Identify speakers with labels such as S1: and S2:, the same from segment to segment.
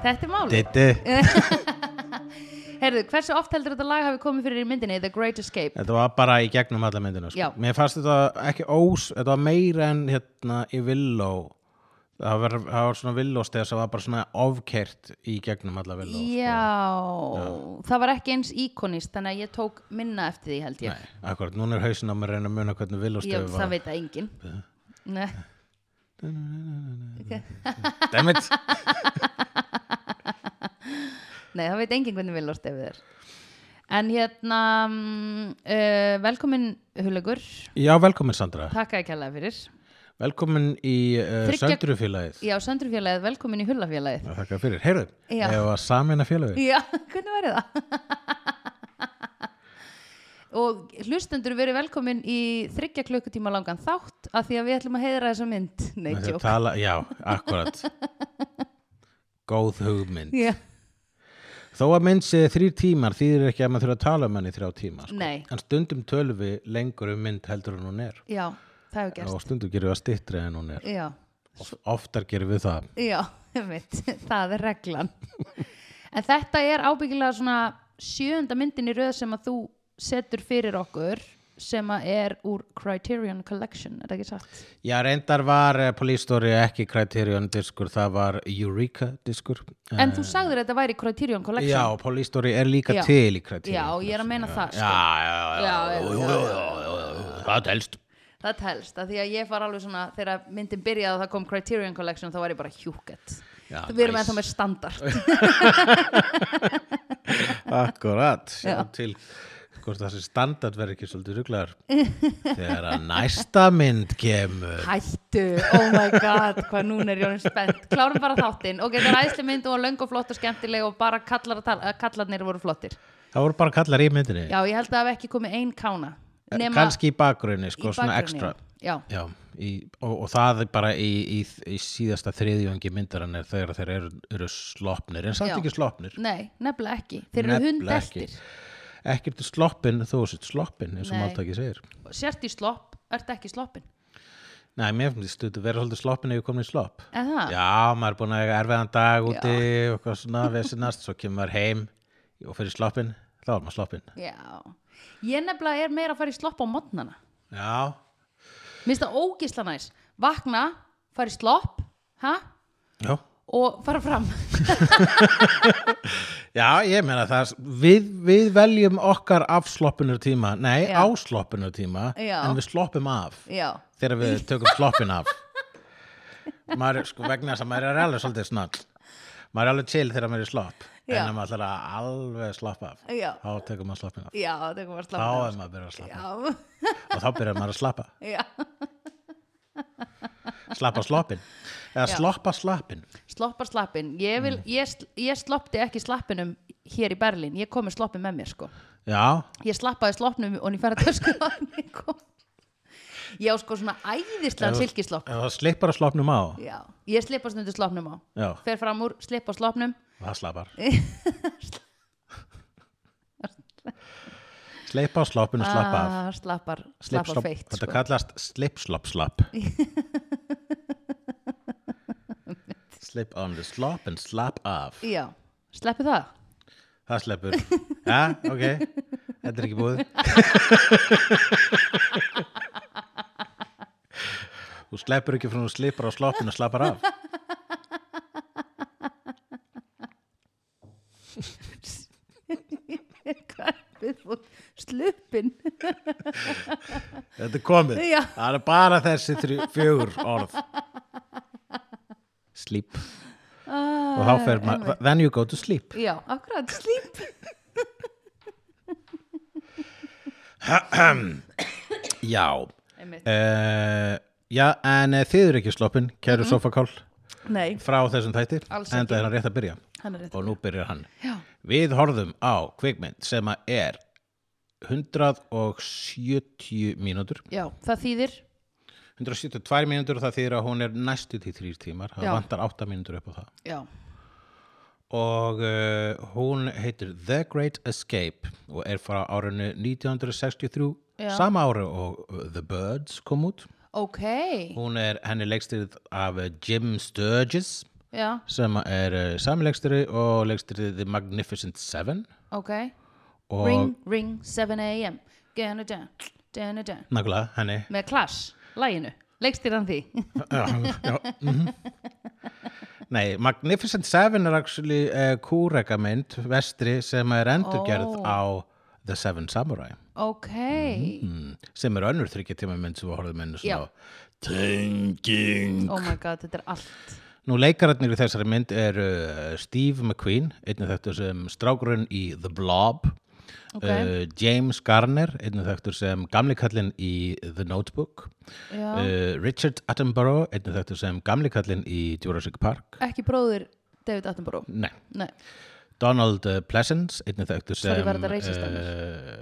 S1: Þetta er málið Herðu, hversu oft heldur þetta lag hafi komið fyrir í myndinni The Great Escape?
S2: Þetta var bara í gegnum alla myndina sko.
S1: Já.
S2: Mér fannst þetta ekki ós Þetta var meira en hérna í villó Það var, það var svona villósteg sem var bara svona ofkert í gegnum alla villó
S1: Já, það var ekki eins íkonist þannig að ég tók minna eftir því held ég
S2: Nei, akkurat, núna er hausinn á mér að reyna að muna hvernig
S1: Já,
S2: villósteg
S1: það
S2: var
S1: veit að enginn Nei,
S2: Dammit,
S1: nei, það veit enginn hvernig vil lost ef þér En hérna mm, uh, velkomin Hulegur,
S2: já velkomin Sandra
S1: takk að kjallaði fyrir
S2: Velkomin í uh,
S1: Þriggja-
S2: Söndrufélagið
S1: Já, söndrufélagið, velkomin í Hulafélagið
S2: Þakka fyrir, heyrðu,
S1: Já.
S2: ég var samin að félagið
S1: Já, hvernig væri það? og hlustendur verið velkomin í þryggja klukkutíma langan þátt af því að við ætlum að heiðra þessa mynd Nei,
S2: Með því að
S1: tjók
S2: tala, já, akkurat góð hugmynd
S1: Já,
S2: þó að mynd sé þrýr tímar þýðir ekki að maður þurfa að tala um hann í þrjá tíma sko.
S1: Nei.
S2: en stundum tölum við lengur um mynd heldur en hún er
S1: já, það hefur gerst
S2: og stundum gerum við að styttri en hún er
S1: Já,
S2: Of- oftar gerum við það
S1: já, einmitt, það er reglan En þetta er ábyggilega svona sjöunda myndin í röð sem að þú setur fyrir okkur sem að er úr Criterion Collection, er það ekki sagt?
S2: já, reyndar var uh, Police Story ekki Criterion diskur, það var Eureka diskur
S1: En þú sagðir að þetta væri Criterion Collection
S2: já, Police Story er líka
S1: Já.
S2: til í Criterion
S1: Já, ég er að meina það sko.
S2: já, já, já,
S1: Já, já,
S2: já, já, já, já, já, það telst
S1: Það telst, af því að ég far alveg svona þegar myndin byrjaði og það kom Criterion Collection þá var ég bara hjúkett
S2: Já,
S1: Við erum
S2: nice.
S1: ennþá með standard
S2: Akkurat,
S1: Já.
S2: sjáum til hvort þessi standard verður ekki svolítið ruglaður þegar að næsta mynd kemur
S1: Hættu, oh my god, hvað núna er Jónin spennt Klárum bara þáttinn, ok, það er æsli mynd og löng og flott og skemmtileg og bara kallar, að tala- eh, kallarnir voru flottir
S2: það voru bara kallar í myndinni
S1: Já, ég held að það hafi ekki komið ein kána nema
S2: Eh, kannski í bakgrunni,
S1: í
S2: sko, svona
S1: bakgrunni.
S2: ekstra
S1: Já,
S2: Já, í, og, og það er bara í, í, í síðasta þriðjöngi myndarann er þegar þeir eru, eru slopnir en samt
S1: Já.
S2: ekki slopnir
S1: nei, nefnilega ekki Þeir eru
S2: Nefnilega ekki.
S1: hundestir,
S2: ekkert er sloppin þó þú sett sloppin eins og
S1: Nei.
S2: máltaki segir
S1: sért í slopp, ert ekki sloppin
S2: Nei, mér finnst þetta vera svolítið sloppin ef ég komin í slopp
S1: Eða,
S2: Já, maður er búin að eiga erfiðan dag úti og hvað svona vesinast, svo kemur maður heim og fyrir sloppin, þá er maður sloppin.
S1: já Ég nefnilega er meira að fara í slopp á modnana
S2: Já,
S1: Mér finnst það ógisla næs Vakna, fara í slopp ha?
S2: já.
S1: og fara fram
S2: Já, ég meina það, við, við veljum okkar af sloppunur tíma, nei, á
S1: Já.
S2: sloppunur tíma,
S1: Já.
S2: en við sloppum af
S1: Já,
S2: þegar við tökum sloppin af. maður, er, sko, vegna þess að maður er alveg svolítið snart. Maður er alveg chill þegar maður er í slopp, en
S1: Já.
S2: ef maður ætlar að alveg sloppa af,
S1: Já.
S2: þá tekum maður sloppin af.
S1: já, það kom að
S2: Þá
S1: slappa
S2: er maður að byrja að slappa af
S1: Já,
S2: og þá byrjar maður að slappa.
S1: já
S2: Slappa sloppin Eða sloppa slappin
S1: Sloppar slappin Ég,
S2: Mm.
S1: vil, ég, sl- ég sloppti ekki slappinum hér í Berlín Ég kom með sloppin með mér sko
S2: Já,
S1: Ég slappaði sloppnum og ég færa tösku Já, sko svona æðislega silkislopp
S2: ef það slippar að sloppnum á
S1: Já, ég slippa stundu sloppnum á
S2: Já,
S1: Fer fram úr, slippa sloppnum
S2: það slappar Sleipa á sloppin og slappa af
S1: Ah, Slappar,
S2: Slipp,
S1: slappar
S2: slopp.
S1: feitt
S2: Þetta
S1: sko.
S2: kallast slip, slopp, slapp Slip on the slopp and slap af
S1: Já, sleppi það
S2: Það sleppur Já, ok, þetta er ekki búið Þú sleppur ekki frá hún slipar á sloppin og slappar af
S1: Garpið og sluppin
S2: Þetta er komið.
S1: Já.
S2: Það er bara þessi þrjú, fjögur orð. Sleep.
S1: ah,
S2: Og þá fer maður, then you go to sleep.
S1: Já, akkurat, slíp
S2: Já. Uh, já, en uh, þið eru ekki sloppin, kæru sofakál,
S1: Nei,
S2: frá þessum þætti.
S1: Mhm. Alls
S2: Enda er hann rétt að byrja.
S1: hann er rétt
S2: Og nú byrjar hann.
S1: Já,
S2: Við horfðum á kvikmynd sem að er 170 mínútur.
S1: já það þýðir
S2: 172 mínútur og það þýðir að hún er næstu til þrýr tímar. Það
S1: Já.
S2: vantar 8 mínútur upp á það.
S1: Já,
S2: og uh, hún heitir The Great Escape og er frá árinu 1963
S1: Já.
S2: sama ári og uh, The Birds kom út
S1: ok,
S2: hún er henni leikstyrð af uh, Jim Sturgis
S1: já,
S2: sem er uh, sami leikstyrði og leikstyrði The Magnificent Seven
S1: ok
S2: og
S1: ring, ring, 7am gana da, gana da
S2: nagla henni
S1: með Clash, læginu, leikstýran því
S2: já, já, mhm. Nei, Magnificent Seven er actually uh, kúrekamynd vestri sem er endurgerð
S1: Ó.
S2: á The Seven Samurai
S1: ok,
S2: mm, sem er önnur þryggja tíma mynd sem við horfum einu
S1: Já.
S2: svona á. Tenging
S1: oh my god, þetta er allt
S2: Nú leikararnir í þessari mynd er uh, Steve McQueen, einnig þekktur sem strákurinn í The Blob
S1: Ok.
S2: uh, James Garner, einnig þekktur sem gamli kallinn í The Notebook
S1: já,
S2: uh, Richard Attenborough, einnig þekktur sem gamli kallinn í Jurassic Park
S1: ekki bróðir David Attenborough
S2: Nei,
S1: nei,
S2: Donald uh, Pleasence, einnig þekktur sem
S1: Sorry, var þetta racist af mér?
S2: uh,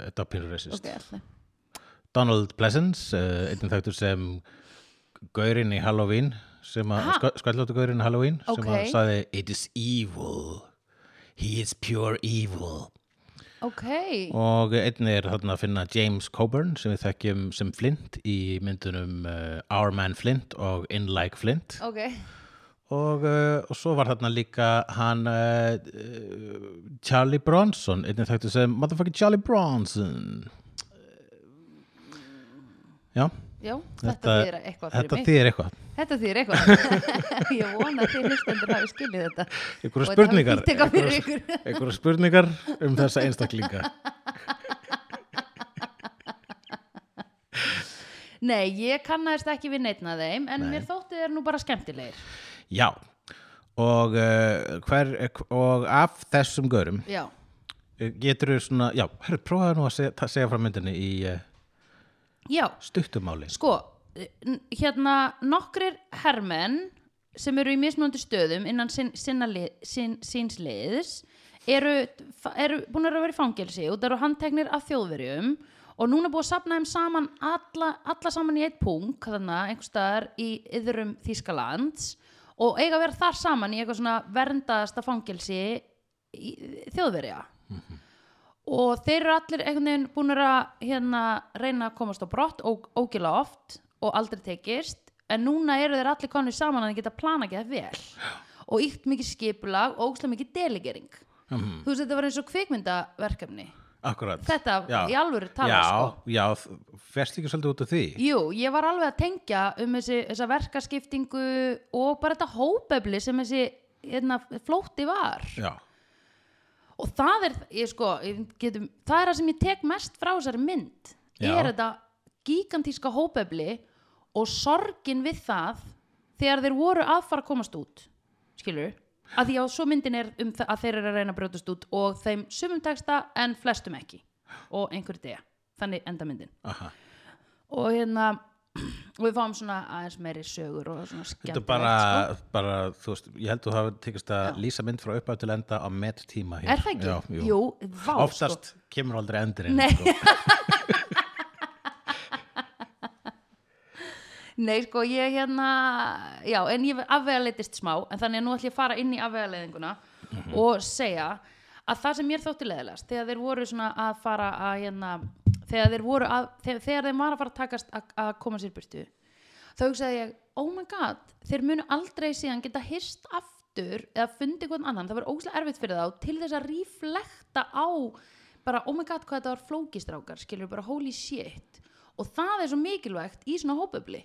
S2: Þetta var pínur racist
S1: ok, alltaf
S2: Donald Pleasence, uh, einnig þekktur sem gaurinn í Halloween sem að,
S1: Ha?
S2: skvællóttu gaurinn í Halloween sem að
S1: Ókei.
S2: sagði It is evil, he is pure evil
S1: ok,
S2: og einnig er þarna að finna James Coburn sem við þekkjum sem Flint í myndunum uh, Our Man Flint og In Like Flint
S1: ok
S2: og, uh, og svo var þarna líka hann uh, uh, Charlie Bronson, einnig þekktur sem Motherfucking Charlie Bronson Já,
S1: já, þetta, þetta
S2: Þetta-
S1: þýðir eitthvað fyrir
S2: þetta
S1: mig
S2: þýðir eitthvað
S1: þetta þýðir eitthvað ég vona að þið hlustendur hafi skiljið þetta
S2: einhverja
S1: Og þetta hafi
S2: spurningar
S1: þýtt eitthvað fyrir
S2: einhverjar-
S1: ykkur.
S2: einhverjar spurningar um þessa einstaklinga
S1: Nei, ég kannaðist ekki við neitna þeim en mér þótti þeir nú bara skemmtilegir
S2: já og, uh, hver, og af þessum görum
S1: Já,
S2: getur þú svona já, herru, prófaðu nú að segja, ta- segja frá myndinni í uh,
S1: já,
S2: stuttumáli
S1: sko n- hérna nokkrir hermenn sem eru í mismunandi stöðum innan sin, sinna lið, sin, síns liðs eru, fa- eru búin að vera í fangelsi og það eru handteknir af þjóðverjum og núna er búið að sapna þeim saman alla, alla saman í eitt punkt þannig að einhvers staðar í yðrum Þýskalands og eiga að vera þar saman í eitthvað svona verndaðasta fangelsi í, þjóðverja og þeir eru allir einhvern veginn búin að hérna, reyna að komast á brott og ógila oft og aldrei tekist en núna eru þeir allir konir saman að þeir geta plana ekki það vel og ykt mikið skipulag og ógstlega mikið delegering
S2: Mhm.
S1: þú veist þetta var eins og kvikmyndaverkefni
S2: akkurat
S1: þetta
S2: Já.
S1: í alvöru tala
S2: já,
S1: sko
S2: já, þ- ferst ekki svolítið út af því
S1: Jú, ég var alveg að tengja um þessi, þessa verkaskiptingu og bara þetta hópefli sem þessi hérna, flótti var
S2: já,
S1: og það er ég sko, ég getum, það er það sem ég tek mest frá þessari mynd
S2: Já.
S1: er þetta gigantíska hópefli og sorgin við það þegar þeir voru að fara að komast út skilur að því að svo myndin er um það að þeir eru að reyna að brjótast út og þeim sumum texta en flestum ekki og einhverju dega, þannig enda myndin
S2: aha
S1: og hérna og við fáum svona aðeins meiri sögur og
S2: Þetta
S1: svona
S2: er
S1: skemmtilegt
S2: bara,
S1: sko.
S2: bara, þú veist, ég held að þú hafa tekist að lýsa mynd frá upphaf til enda á met tíma hér.
S1: er það ekki?
S2: Já, jú.
S1: jú, vá sko.
S2: Oftast kemur aldrei endurinn.
S1: Nei.
S2: Sko.
S1: Nei, sko, ég hérna, já, en ég afvegaleitist smá, en þannig að nú ætlum ég að fara inn í afvegaleðinguna og segja að það sem mér þótti leðilegast, þegar þeir voru svona að fara að, hérna, þegar þeir voru að, þegar, þegar þeir var að fara að takast að, að koma sér burtu, þá hugsaði ég, oh my god, þeir munu aldrei síðan geta hyrst aftur eða fundið hvern annan, það var óslega erfitt fyrir þá til þess að ríflekta á bara, oh my god, hvað þetta var flókistrákar, skilur bara, holy shit, og það er svo mikilvægt í svona hópöfli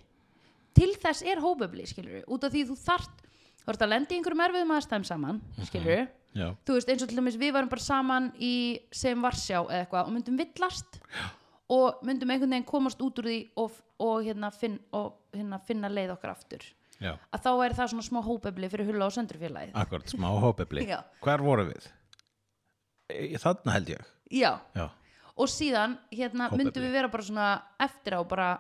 S1: til þess er hópefli, skilur út af því þú þart, þú ert að lenda í einhverjum erfiðum aðstæðum saman, skilur
S2: Já,
S1: þú veist, eins og til dæmis við varum bara saman í sem Varsjá eða eitthvað og myndum villast og myndum einhvern veginn komast út úr því og, og, hérna, finn, og hérna, finna leið okkar aftur
S2: já,
S1: að þá er það svona smá hópefli fyrir hulla og söndrufélagið
S2: akkurat, smá hópefli.
S1: Já.
S2: Hvar vorum við? E, Þarna held ég.
S1: já,
S2: Já,
S1: og síðan hérna
S2: Hópefli.
S1: myndum við vera bara svona eftir á bara,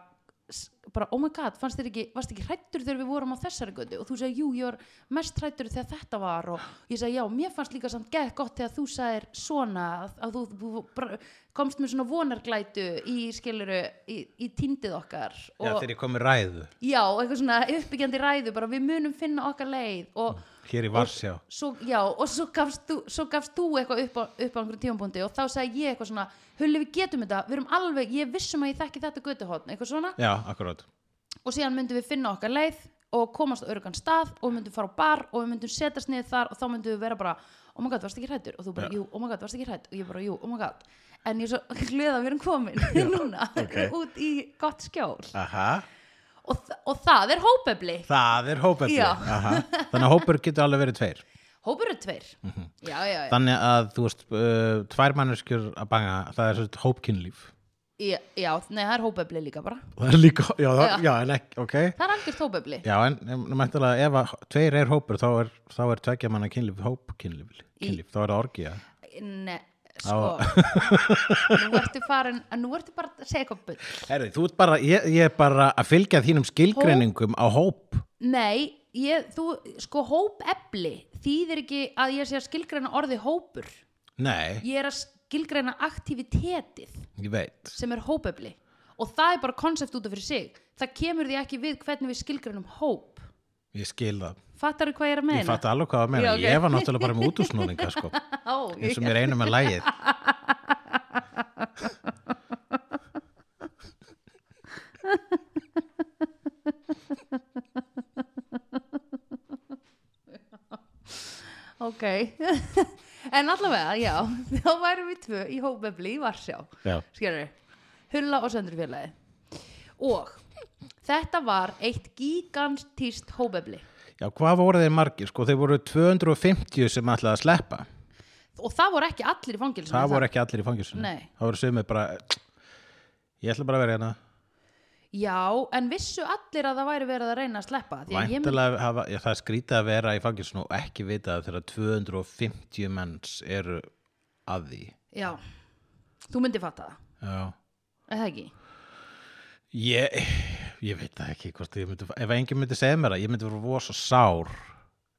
S1: s- bara oh my god, fannst þér ekki, varst ekki hrættur þegar við vorum á þessari götu og þú segir, jú, ég var mest hrættur þegar þetta var og ég segi, já, mér fannst líka samt geð gott þegar þú sagðir svona að, að þú, þú bara, komst með svona vonarglætu í skiluru, í, í tíndið okkar
S2: já
S1: og
S2: þegar ég kom með ræðu.
S1: já, og eitthvað svona uppbyggjandi ræðu bara við munum finna okkar leið og
S2: hér í Varsjá
S1: svo, já, og svo gafst þú, svo gafst þú eitthvað upp á, upp á einhverjum tímapunkti og þá sagði ég eitthvað svona Hulli við getum þetta, við erum alveg, ég er viss um að ég þekki þetta götuhotn, eitthvað svona
S2: já, akkurát
S1: og síðan myndum við finna okkar leið og komast á örugan stað og við myndum fara á bar og við myndum setjast niður þar og þá myndum við vera bara oh my god, varst ekki hrættur? og þú bara,
S2: Já.
S1: jú, oh my god, varst ekki hrætt? og ég bara, jú, oh my god en ég er svo glöð að við erum komin núna
S2: ok.
S1: út í gott skjól
S2: Aha,
S1: og, þa- og það er hópefli
S2: það er hópefli
S1: Já.
S2: Aha. þannig að hópur getur alveg verið tveir
S1: hópur er tveir
S2: Mhm.
S1: já, já, já,
S2: þannig að þú veist uh, tvær manneskjur að banga það er svona hópkinnlíf
S1: já, já nei, það er hópefli líka bara
S2: það er líka, já, já.
S1: Já.
S2: já en ekki, ok
S1: það er algjört hópefli
S2: já, en en mæntalega ef að tveir er hópur þá er, þá er tveggja manna kynlíf hópkinnlíf, kynlíf, þá er það orgía
S1: Nei, sko Nú ertu farin, en nú ertu bara að segja eitthvað bull
S2: herri, þú ert bara, ég, ég er bara að fylgja þínum skilgreiningum á hóp
S1: Nei, ég, þú, sko hópefli þýðir ekki að ég sé að skilgreina orði hópur
S2: nei,
S1: Ég er að skilgreina aktivitetið
S2: ég veit
S1: sem er hópefli og það er bara konsept út af fyrir sig Það kemur því ekki við hvernig við skilgreinum hóp
S2: ég skil það,
S1: Fattarðu hvað ég er að meina?
S2: ég fatt alveg hvað það meina
S1: Já, ok.
S2: ég var náttúrulega bara með útúsnúninga sko,
S1: Ó, ég-
S2: eins og mér einu með lægið
S1: Ok, en allavega, já, þá værum við tvö í hópefli í Varsjá
S2: já,
S1: skilur Hulla og Söndur félagi og þetta var eitt gigantíst hópefli
S2: já hvað voru þeir margir sko, þeir voru 250 sem ætlaði að sleppa
S1: og það voru ekki allir í fangilsum
S2: það voru ekki allir í fangilsinu
S1: Nei.
S2: það voru sumir bara ég ætla bara að vera hérna
S1: já, en vissu allir að það væri verið að reyna að sleppa því að ég myndi
S2: Væntalega hafa, já, það er skrítið að vera í fangilsinu og ekki vita það þegar 250 menns eru að því
S1: já, þú myndi fatta það,
S2: já.
S1: er það ekki
S2: ég, ég veit það ekki hvort ég myndi, ef enginn myndi segja mér það ég myndi vera vosa sár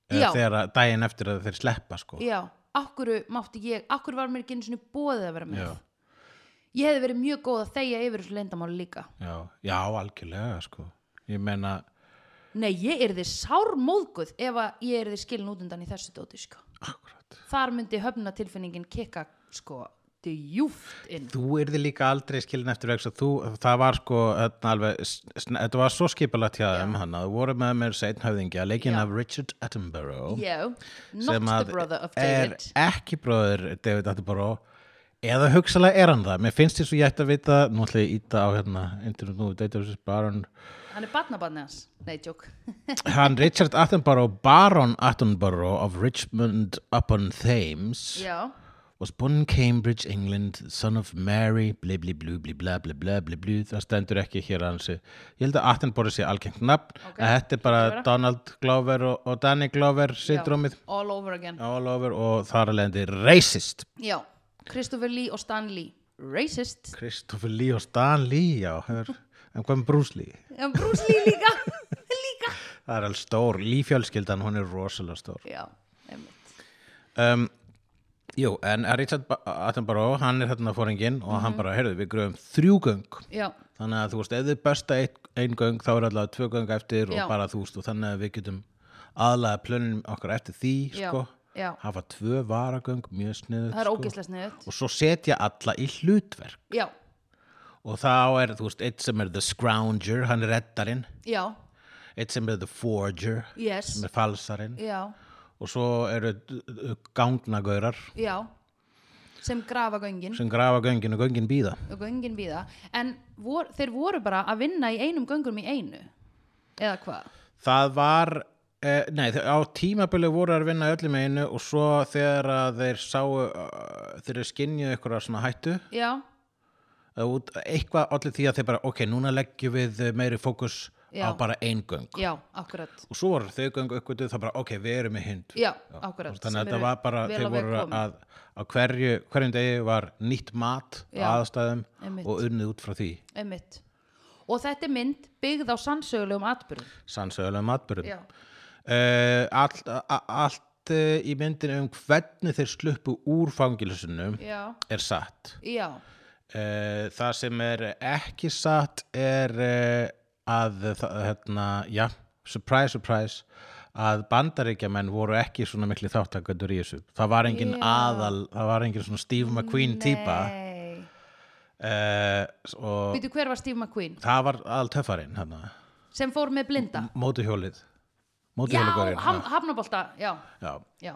S2: eh,
S1: Já.
S2: þegar að- daginn eftir að þeir sleppa sko.
S1: já, akkur mátti ég, akkur var mér ekki einu sinni bóðið að vera með
S2: Já.
S1: ég hefði verið mjög góð að þegja yfir þessu leyndamáli líka
S2: já, já, algjörlega sko. ég meina,
S1: nei, ég er þið sármóðguð ef að ég er þið skilin út undan í þessu dóti sko.
S2: akkurat
S1: þar myndi höfnatilfinningin kikka sko djúft inn
S2: þú yrði líka aldrei skilin eftir vegna þú, það var sko þarna alveg, sn- þetta var svo skipulagt hjá þeim hann að þú voru með mér seitt höfðingja leikinn
S1: Já.
S2: af Richard Attenborough
S1: já,
S2: sem
S1: not
S2: að
S1: the brother of
S2: er
S1: David
S2: ekki bróður David Attenborough eða hugsalega er hann það, mér finnst þess að ég ætti að vita nú ætla ég að íta á hérna internet nú, David Baron
S1: hann er barnabarni hans, nei, tjók
S2: hann Richard Attenborough, Baron Attenborough of Richmond upon Thames
S1: já,
S2: was born in Cambridge, England son of Mary, bli bli blu bli bla bli bla bli blu, það stendur ekki hér að hansi, ég held að Attenborough sé algengt nafn,
S1: Ok,
S2: en þetta er bara
S1: vera.
S2: Donald Glover og, og Danny Glover
S1: já
S2: syndrómið
S1: all over again
S2: all over og þar að leiðandi racist
S1: já, Christopher Lee og Stan Lee racist,
S2: Kristoffer Lee og Stan Lee, já, hör, en hvað með Bruce Lee?
S1: en Bruce Lee líka líka,
S2: Það er alveg stór, Lee fjölskyldan, hún er rosalega stór.
S1: já, einmitt
S2: Um, jú, en Richard Ba- Attenborough, hann er hérna fóringinn og
S1: Mhm.
S2: hann bara, heyrðu, við gröfum þrjú göng.
S1: já,
S2: Þannig að þú veist, ef þið besta ein, ein göng, þá er allavega tvö göng eftir
S1: Já.
S2: og bara þú veist, og þannig að við getum aðlaga plönum okkar eftir því,
S1: Já,
S2: sko.
S1: já.
S2: Hafa tvö varagöng, mjög sniðut,
S1: það er ógeðslega sniðut
S2: Og svo setja alla í hlutverk.
S1: já,
S2: Og þá er, þú veist, eitt sem er The Scrounger, hann er reddarinn.
S1: já,
S2: eitt sem er The Forger
S1: yes
S2: sem er falsarinn
S1: já,
S2: og svo eru gangnagaurar
S1: já sem grafa göngin
S2: sem grafa göngin og göngin býða
S1: og göngin býða en vor, þeir voru bara að vinna í einum göngum í einu eða hvað
S2: það var eh, nei, þau- á tímabili voru að vinna í öllum einu og svo þegar að þeir sáu uh, þeir skinnju ykkur svona hættu
S1: já,
S2: eða út- eitthvað allir því að þeir bara ok, núna leggjum við meiri fókus
S1: Já.
S2: á bara ein göng
S1: já, akkurat
S2: og svo voru þau göng ykkur það bara ok, við erum með hind
S1: já, akkurat
S2: þannig
S1: sem
S2: að þetta
S1: eru
S2: var bara
S1: vel
S2: þeir
S1: á veg
S2: voru
S1: komin.
S2: að á hverju, hverjum degi var nýtt mat
S1: Já,
S2: á aðstæðum
S1: einmitt.
S2: og unnið út frá því
S1: einmitt og þetta er mynd byggð á sannsögulegum atbyrðum
S2: sannsögulegum atbyrðum
S1: já,
S2: uh, Eh, allt, a- allt uh, í myndinu um hvernig þeir sluppu úr fangilsinu
S1: já,
S2: er satt
S1: já,
S2: uh, það sem er ekki eh, satt er uh, að það, hérna, já, surprise, surprise að bandaríkjamenn voru ekki svona mikli þáttakendur í þessu það var engin
S1: Já.
S2: aðal, það var engin svona Steve McQueen típa
S1: Nei.
S2: uh, og
S1: Býtu, hver var Steve McQueen?
S2: það var aðal töffarinn hann
S1: Sem fór með blinda?
S2: mótuhjólið
S1: Já,
S2: mótuhjólugurinn
S1: ham, hafnabolta, já,
S2: já.
S1: já.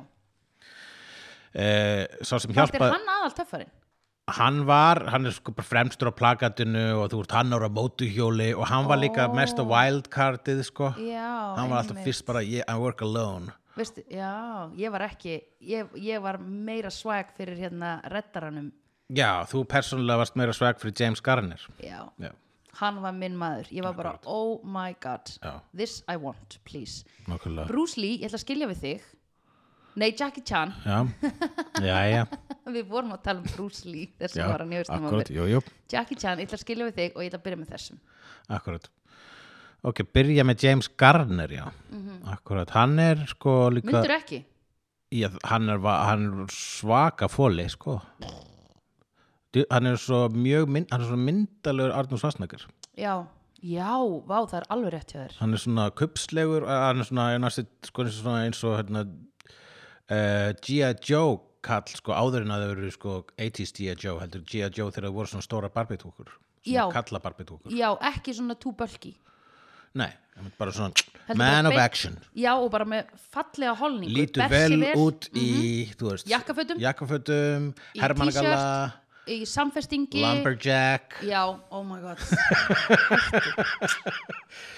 S2: Uh, sá sem
S1: Hjálpa.
S2: hjálpaði
S1: Er hann aðal töffarinn?
S2: hann var, hann er sko bara fremstur á plakatinu og þú ert hann ára mótuhjóli og hann var líka
S1: Ó.
S2: mesta wildcardið sko,
S1: Já,
S2: hann var alltaf
S1: einmitt.
S2: fyrst bara yeah, I work alone
S1: Veistu, já, ég var ekki, ég, ég var meira swag fyrir hérna reddaranum,
S2: já, þú persónulega varst meira sveg fyrir James Garner
S1: já,
S2: já,
S1: hann var minn maður, ég var bara, oh my god,
S2: Já.
S1: this I want, please.
S2: nokkulega
S1: Bruce Lee, ég ætla að skilja við þig, nei Jackie Chan,
S2: já, já, já,
S1: við vorum að tala um Bruce Lee, þess
S2: já
S1: að var hann í haustum á
S2: akkurat,
S1: mér.
S2: jú, jú,
S1: Jackie Chan, ég ætla að skilja við þig og ég ætla að byrja með þessum.
S2: akkurat ok, byrja með James Garner já,
S1: Mhm.
S2: akkurat, hann er sko líka,
S1: Myndur ekki?
S2: já, hann er, va- hann er svaka fóli sko Du- hann er svo mjög mynd, hann er svo myndalegur Arnús Vassnagar
S1: Já, já, vá, það er alveg rétt hjá þér.
S2: hann er svona kupslegur hann er svona, hann er svona, sko, eins og svona eins og hérna uh, G.I. Joe kall sko áður en að þau eru sko 80s G.I. Joe heldur G.I. Joe þegar þau voru svona stóra barbitúkur
S1: Já.
S2: svona kalla barbitúkur
S1: Já, ekki svona too bulky.
S2: nei, hann er bara svona
S1: Heldur
S2: man
S1: bara
S2: of
S1: beint-
S2: action
S1: Já, og bara með fallega holningu.
S2: lítur
S1: bersi
S2: vel út í þú veist,
S1: Mhm. Jakkafötum.
S2: jakkafötum
S1: Í
S2: hermannagalla,
S1: Í samfestingi.
S2: lumberjack
S1: Já, oh my god.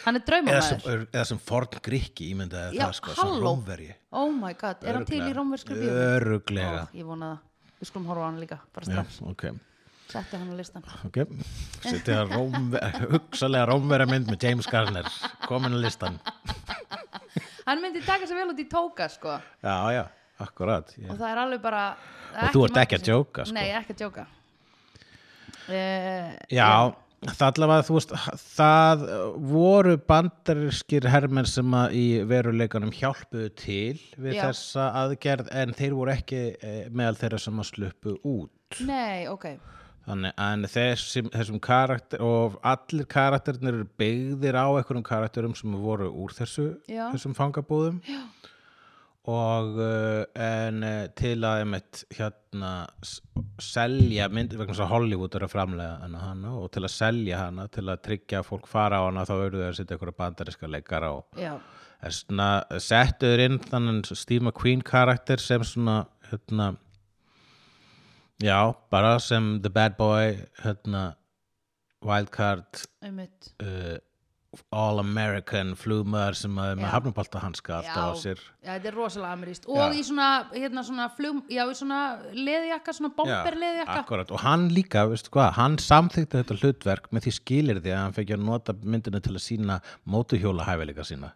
S1: Hann er
S2: eða sem,
S1: draumamaður.
S2: eða sem forn grikki ímyndaði
S1: Já,
S2: það sko, sem
S1: halló.
S2: rómverji
S1: Oh my god, er hann til í rómversku bíó?
S2: öruglega
S1: Ó, Ég vona það. Við skulum horfa á hann líka, bara
S2: já,
S1: strax.
S2: ok
S1: Settu hann á listan.
S2: Ok, setja rómver, hugsalega rómverja mynd með James Garner, komin á listan.
S1: Hann myndi taka sér vel út í tóka, sko.
S2: Já, já, akkurat.
S1: og
S2: Ég,
S1: það er alveg bara það er
S2: Og þú ert
S1: margt
S2: ekki að
S1: sem-
S2: djóka, sko.
S1: nei, ég er ekki að djóka uh,
S2: já, það allavega, þú veist, það voru bandarískir hermenn sem að í veruleikanum hjálpuðu til við
S1: Já.
S2: þessa aðgerð en þeir voru ekki eh, meðal þeirra sem að sluppu út.
S1: nei, ok
S2: Þannig en þessum, þessum karakter og allir karakterinir eru byggðir á einhverjum karakterum sem voru úr þessu,
S1: Já.
S2: þessum fangabúðum Já. og uh, en eh, til að einmitt hérna s- selja mynd vegna þess að Hollywood er að framlega hana, hana og til að selja hana til að tryggja að fólk fara á hana þá eru þau að setja einhverja bandariska leikara og
S1: já,
S2: er svona settu þér inn þannig Steve McQueen karakter sem svona hérna já, bara sem The Bad Boy hérna Wildcard
S1: einmitt
S2: uh, All American flugmaður sem að er með
S1: Já.
S2: hafnabalta hanska alltaf á sér
S1: já, þetta er rosalega ameríst og
S2: Já.
S1: í svona, hérna svona flug, já, í svona leðjakka, svona bomber leðjakka
S2: akkurat, og hann líka, veistu hvað, hann samþykti þetta hlutverk með því skilir því að hann fekk að nota myndina til að sína mótuhjóla hæfileika sína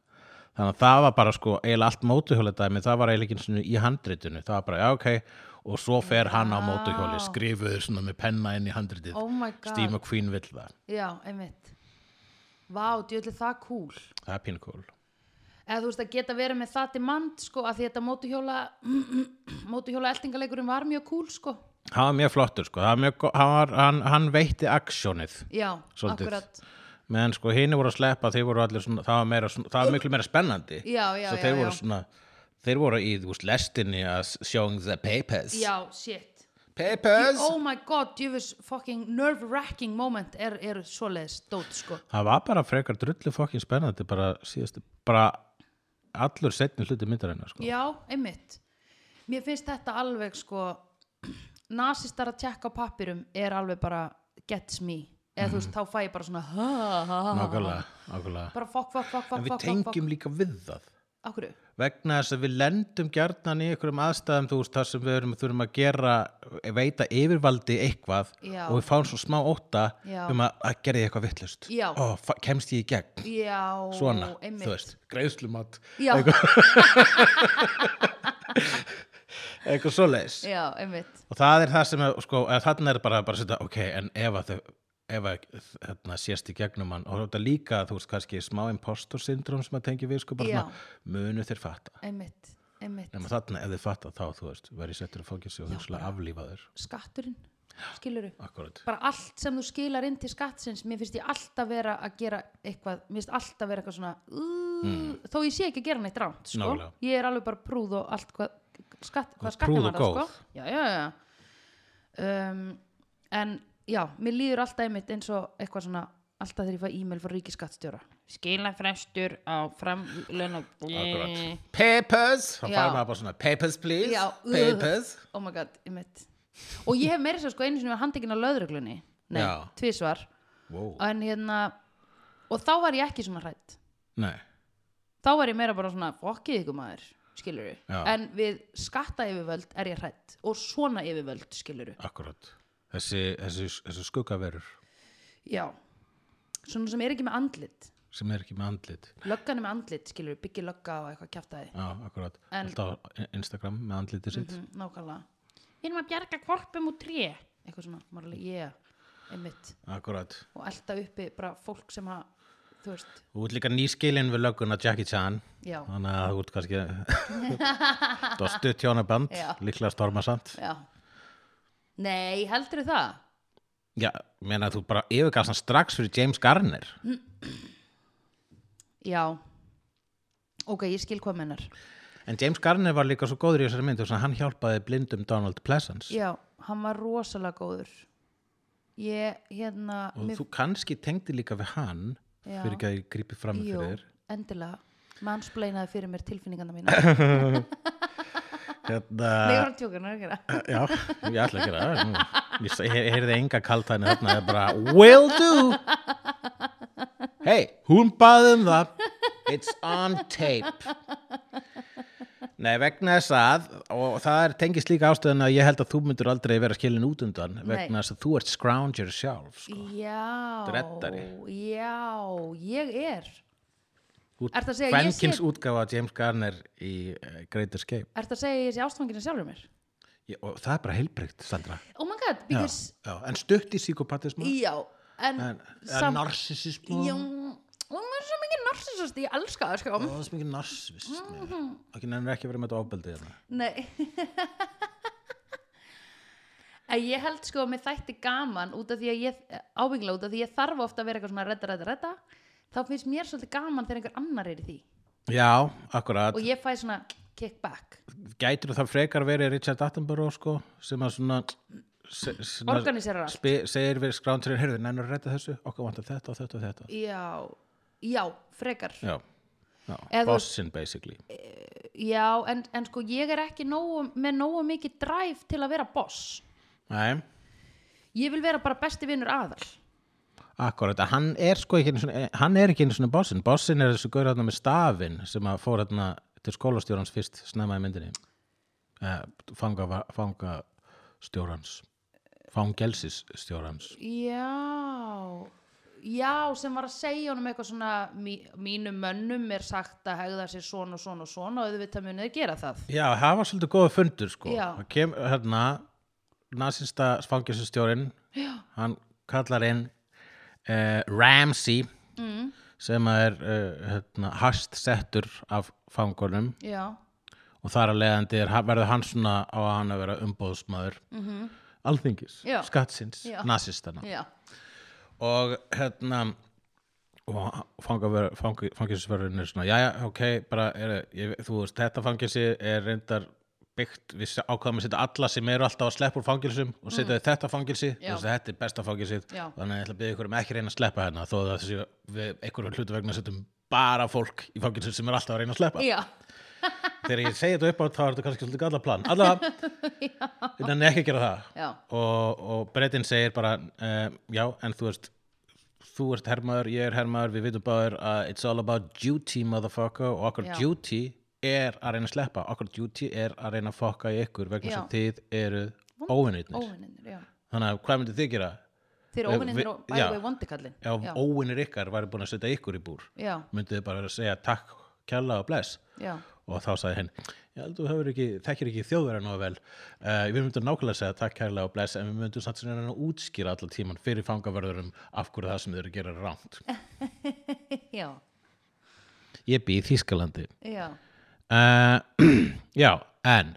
S2: þannig að það var bara sko, eiginlega allt mótuhjóla dæmi, það var eiginlega ekki einu sinni í handritinu það var bara, já ok, og svo fer hann á mótuhjóli, skrifuðu svona með penna inn í handritið,
S1: Oh my god.
S2: Steve McQueen vill það
S1: já, einmitt vá, djöðli það cool
S2: það er pínkól
S1: eða þú veist að geta verið með það til mann sko, að því þetta mótuhjóla mótuhjóla eltingaleikurinn var mjög cool sko.
S2: hann var mjög flottur sko, hann, var mjög, gó- hann, var, hann, hann veitti aksjónið
S1: já,
S2: Svolítið.
S1: akkurat
S2: meðan sko hini voru að sleppa þeir voru allir svona, það var, meira, svona, það var miklu meira spennandi
S1: Já, já,
S2: svo
S1: já,
S2: þeir voru
S1: já.
S2: svona þeir voru í þú veist lestinni að s- showing the papers
S1: já, shit
S2: papers
S1: oh my god, djöfus fucking nerve-wracking moment er, er svoleiðis dót sko
S2: það var bara frekar drullu fokkin spennandi bara síðast bara allur setni hluti myndarinnar sko.
S1: já, einmitt mér finnst þetta alveg sko nasistar að tjekka á pappirum er alveg bara gets me eða
S2: Mhm.
S1: þú veist, þá fæ ég bara svona ha, ha, ha, ha, ha.
S2: nákvæmlega, nákvæmlega
S1: bara fokk, fokk, fokk,
S2: en
S1: fokk,
S2: við
S1: fokk, fokk, fokk.
S2: tengjum líka við það
S1: Akkur,
S2: vegna þess að við lendum gjarnan í einhverjum aðstæðum þú veist þar sem við erum, þurfum að gera veita yfirvaldi eitthvað
S1: Já.
S2: og við fáum svo smá óta
S1: Já.
S2: um að, að gera ég eitthvað vittlust
S1: Já.
S2: kemst ég í gegn
S1: já,
S2: svona,
S1: einmitt
S2: þú veist, greiðslumat
S1: já,
S2: eitthvað svoleiðis
S1: já, einmitt
S2: og það er það sem, er, sko, eða þarna er bara, bara að setja, ok, en ef að þau ef að hérna, sést í gegnum hann og þetta líka, þú veist, kannski smá impostor syndrom sem að tengja við, sko, bara
S1: Já.
S2: svona munu þeir fatta,
S1: einmitt, einmitt
S2: nema þarna ef þeir fatta þá, þú veist, verið settur að fókja sig og hugsalega aflífaður
S1: skatturinn skiluru
S2: akkurat
S1: bara allt sem þú skilar inn til skattsins mér finnst ég alltaf vera að gera eitthvað mér finnst alltaf vera eitthvað svona uh, þó ég sé ekki að gera neitt ránt sko.
S2: Hmm. Nákvæmlega.
S1: ég er alveg bara prúð og allt hvað skatt, hvað
S2: Prúð
S1: skattin
S2: og
S1: var það
S2: góð.
S1: sko. já, já, já. Um, en já, mér líður alltaf einmitt eins og eitthvað svona alltaf þegar ég fæ e-mail frá ríkiskattstjóra skilafrestur á framlun
S2: Akkurat. Papers, þá
S1: Já.
S2: fara maður bara svona Papers please,
S1: Já, ugh.
S2: papers
S1: oh my god, einmitt og ég hef meira sér sko einu sinni var handekinn á löðruglunni nei,
S2: Já.
S1: tvísvar
S2: wow.
S1: en hérna og þá var ég ekki svona hrætt
S2: Nei,
S1: þá var ég meira bara svona fokkið ykkur maður skiluru,
S2: Já.
S1: en við skatta yfirvöld er ég hrætt og svona yfirvöld skiluru,
S2: akkurat Þessi, þessi, þessi skuggaverur
S1: já svona sem er ekki með andlit
S2: sem er ekki með andlit
S1: löggan er með andlit skiluru, byggir lögga og eitthvað kjaftaði
S2: Já, akkurat,
S1: En-
S2: alltaf á Instagram með andlitið sitt
S1: mm, nákvæmlega, við erum að bjarga kvorpum úr tré, eitthvað svona maður alveg, yeah, einmitt
S2: Akkurat,
S1: og elda uppi bara fólk sem að þú veist,
S2: þú ert líka nýskilin við lögguna Jackie Chan
S1: já,
S2: Þannig að þú ert kannski Þú ert stutt hjónaband,
S1: Já.
S2: líklega stormasamt
S1: já nei, heldur það
S2: Já, meina að þú bara yfirgast hann strax fyrir James Garner
S1: Mm. Já Ok, ég skil hvað mennar
S2: En James Garner var líka svo góður í þessari myndu þannig að hann hjálpaði blindum Donald Pleasance
S1: Já, hann var rosalega góður Ég, hérna
S2: og þú kannski tengdi líka við hann
S1: Já.
S2: fyrir ekki að ég grípi fram
S1: jú,
S2: fyrir þér
S1: endilega Mansplainaði fyrir mér tilfinningana mína Nei,
S2: hérna,
S1: ég var að tjóka, hann er ekki það
S2: já, ég ætla ekki það Nú, ég, sa- ég heyrði enga kaltæni þarna það er bara, will do hey, hún baði um það it's on tape Nei, vegna þess að, og það er tengist líka ástöðan að ég held að þú myndur aldrei vera skilin út undan, vegna þess að þú ert scrounger sjálf, sko.
S1: Já,
S2: Dreddari.
S1: já, ég er
S2: Þú
S1: Ertu að segja að ég sé-
S2: Kvenkins útgáfa af James Garner í uh, Great Escape.
S1: Ertu að segja ég sé ástfangina sjálfur mér?
S2: Ég, og það er bara heilbreykt, Sandra.
S1: Oh my god, because
S2: já, en stutt í psykopatismu
S1: Já, en,
S2: en, en
S1: samt-
S2: narsisismu
S1: Já, og maður er svo mikið narsisast Ég elska það, sko
S2: það er svo mikið narsisismu mm
S1: Mhm.
S2: -hmm. ekki nefnir ekki að vera með þetta ofbeldi hérna.
S1: Nei En ég held sko að mér þætti gaman út af því að ég, ábyggla út af því að ég þarf ofta að vera eitthvað svona redda, redda, redda þá finnst mér svolítið gaman þegar einhver annar er í því
S2: já, akkurat,
S1: og ég fæ svona kickback
S2: gætur það frekar verið Richard Attenborough sko, sem að svona se- svona
S1: Organiserar allt.
S2: spe- segir við skránturinn, heyrðu, nefnir að redda þessu okkar vantar þetta og þetta og þetta
S1: Já, já, frekar Já,
S2: já, já.
S1: Eða þú-
S2: bossin basically
S1: en, en sko ég er ekki nógu, með nógu mikið drive til að vera boss
S2: nei,
S1: Ég vil vera bara besti vinnur aðal
S2: akkurat, að hann er sko ekki einu sinni, hann er ekki einu svona bossin bossin er þessu gaur þarna með stafin sem að fór þarna til skólastjórans fyrst snemma í myndinni eh, fanga, fanga stjórans fangelsis stjórans
S1: Já Já, sem var að segja honum eitthvað svona mí, mínum mönnum er sagt að hegða sér svona og svona og svona og auðvitað munið að gera það
S2: já, það var svolítið góða fundur sko
S1: Já.
S2: það kem hérna nasista fangelsistjórinn hann kallar inn eh, Ramsey
S1: mm,
S2: sem að er eh, hérna, hast settur af fangunum
S1: Já,
S2: og þar að leiðandi er, verður hann svona á að hann að vera umbóðsmaður alþingis,
S1: Mhm. Já.
S2: skattsins,
S1: Já.
S2: nasistana
S1: já,
S2: og hérna og fangaverð- fangi- fangelsisverðurinn er svona, jæja, ok, bara er, ég, þú veist, þetta fangelsi er reyndar byggt, við ákvaðum að setja alla sem eru alltaf að sleppa úr fangelsum og setja mm. þetta fangelsi, þú
S1: Mhm. Já.
S2: veist, þetta er besta fangelsið
S1: Já.
S2: þannig að ég ætla að byggja ykkur um ekki reyna að sleppa hérna þó að þessi, við einhverjum hlutu vegna setjum bara fólk í fangelsum sem er alltaf að reyna að sleppa
S1: já,
S2: þegar ég segi þetta upp á þá er þetta kannski svolítið galla plan allavega, þetta er ekki að gera það
S1: já,
S2: og, og breytin segir bara um, já, en þú veist þú ert hermaður, ég er hermaður, við vitum báður að it's all about duty motherfucker og okkur
S1: Já.
S2: duty er að reyna að sleppa okkur duty er að reyna að fokka í ykkur vegna þess
S1: Já.
S2: að þið eru óvinnirnir
S1: óvinnir, já
S2: þannig að hvað myndið þið gera?
S1: Þeir eru
S2: Eh,
S1: óvinnir
S2: vi-
S1: og bæði
S2: já.
S1: við vondikallin
S2: Já,
S1: já,
S2: óvinnir ykkar væri búin að setja ykkur í búr
S1: já,
S2: myndið þið bara að segja takk, kjalla og bless
S1: já,
S2: og þá sagði henn ég held þú hefur ekki, þekkir ekki þjóðverða nóg vel uh, við myndum nákvæmlega segja takk kærlega og bless en við myndum samt sem hérna útskýra allan tíman fyrir fangavörðurum af hverju það sem þeir eru að gera er rangt
S1: Eh. já,
S2: ég bý í Þýskalandi Eh,
S1: já
S2: uh, já, en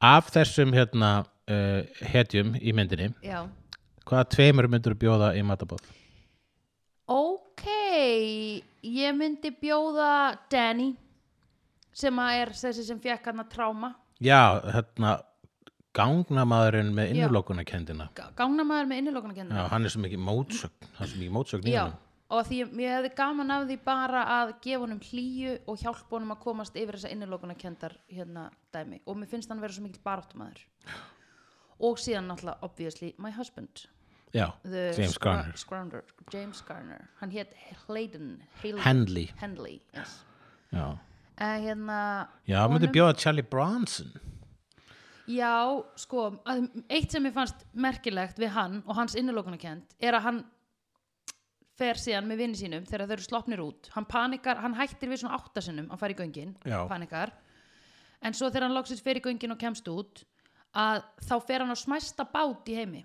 S2: af þessum hérna uh, hetjum í myndinni
S1: já
S2: hvaða tveimur myndur bjóða í matabóð?
S1: Ok, ég myndi bjóða Danny sem að er þessi sem fekk hann að tráma
S2: Já, hérna gangnamaðurinn með innilokunarkendina
S1: gangnamaður með innilokunar
S2: Já, hann er svo mikið mótsögn hann er svo mikið mótsögn í
S1: Já,
S2: hann
S1: og því ég, ég hefði gaman af því bara að gefa honum hlýju og hjálpa honum að komast yfir þessa innilokunar hérna dæmi og mér finnst hann vera svo mikill baráttumaður og síðan náttúrulega obviously my husband
S2: Já,
S1: the
S2: James
S1: Scar-
S2: Garner
S1: Scrounder, James Garner, hann hétt Hayden Hayden-
S2: Henley
S1: Henley yes.
S2: Já,
S1: uh, hérna,
S2: já myndi bjóða Charlie Bronson
S1: Já, sko, að, eitt sem ég fannst merkilegt við hann og hans innilokunarkend er að hann fer síðan með vinni sínum þegar þau eru slopnir út. Hann panikar, hann hættir við svona áttasinnum, hann fær í göngin,
S2: Já.
S1: panikar. En svo þegar hann loksins fer í göngin og kemst út, að þá fer hann á smæsta bát í heimi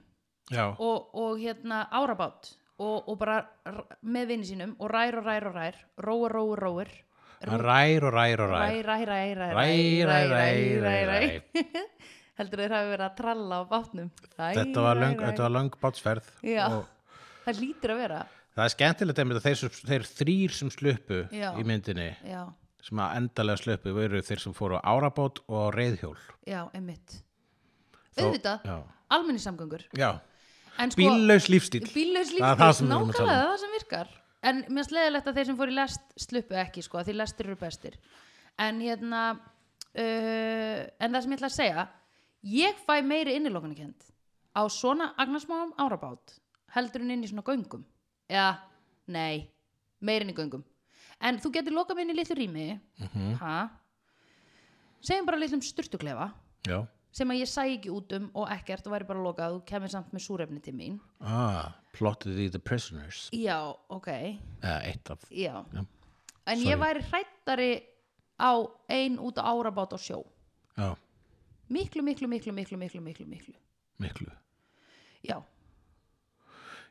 S2: Já,
S1: og, og hérna árabát og, og bara r- með vinni sínum og rær og rær og rær, róar, róar, róar,
S2: hann rær og rær og rær
S1: ræ, ræ, ræ, ræ,
S2: Ræ, ræ, ræ, ræ,
S1: heldur þeir hafi verið að tralla á bátnum ræ,
S2: Þetta var
S1: ræ,
S2: löng,
S1: ræ.
S2: þetta var löng bátsferð
S1: Já.
S2: og
S1: það lítur að vera
S2: það er skemmtilegt einmitt að þeir, sem- þeir þrýr sem sluppu
S1: Já.
S2: í myndinni
S1: já,
S2: sem að endalega sluppu voru þeir sem fóru á árabót og á reyðhjól
S1: já, einmitt
S2: Þó-
S1: auðvitað,
S2: Já,
S1: almenningssamgöngur
S2: já.
S1: en sko,
S2: bíllaus lífstíl
S1: bíllaus
S2: Það er það
S1: lífstíl
S2: sem við erum að
S1: nákvæmlega
S2: tala um.
S1: það sem virkar en mér finnst leðilegt að þeir sem fóru í lest sluppu ekki sko, því lestir eru bestir en hérna uh, en það sem ég ætla að segja ég fæ meiri innilokunarkend á svona agnarsmáum árabát heldur en inn í svona göngum eða, nei, meiri inn í göngum en þú getur lokað mig inn í litlu rými mm
S2: Mhm.
S1: -hmm. segjum bara litlum sturtuklefa
S2: Já,
S1: sem að ég sæ ekki út um og ekkert og væri bara lokað og kemur samt með súrefni til mín
S2: ah, plottið í The Prisoners
S1: Já, ok,
S2: eða eitt af
S1: já.
S2: Já.
S1: En
S2: Sorry.
S1: ég væri hrættari á ein út á árabát á sjó.
S2: já,
S1: Miklu, miklu, miklu, miklu, miklu, miklu, miklu.
S2: miklu
S1: Já,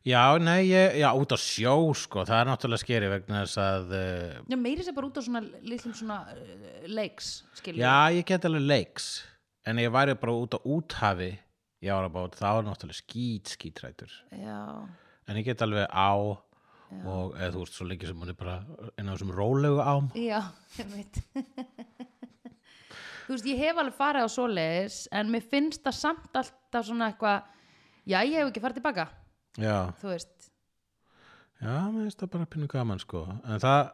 S2: já, nei, ég, já, út á sjó sko, það er náttúrulega skeri vegna þess að uh,
S1: já meiri sér bara út á svona litlum svona uh, leiks, skilur.
S2: já, ég get alveg leiks en ef ég væri bara út á úthafi í árabát, þá er náttúrulega skít skítrætur,
S1: Já,
S2: en ég get alveg á og eða þú veist svo lengi sem hún er bara einn af þessum rólegu ám
S1: já, ég veit. Þú veist, ég hef alveg farið á svoleiðis en mér finnst það samt alltaf svona eitthvað, já, ég hef ekki farið tilbaka,
S2: já,
S1: þú veist.
S2: já, mér finnst það bara pínu gaman sko, en það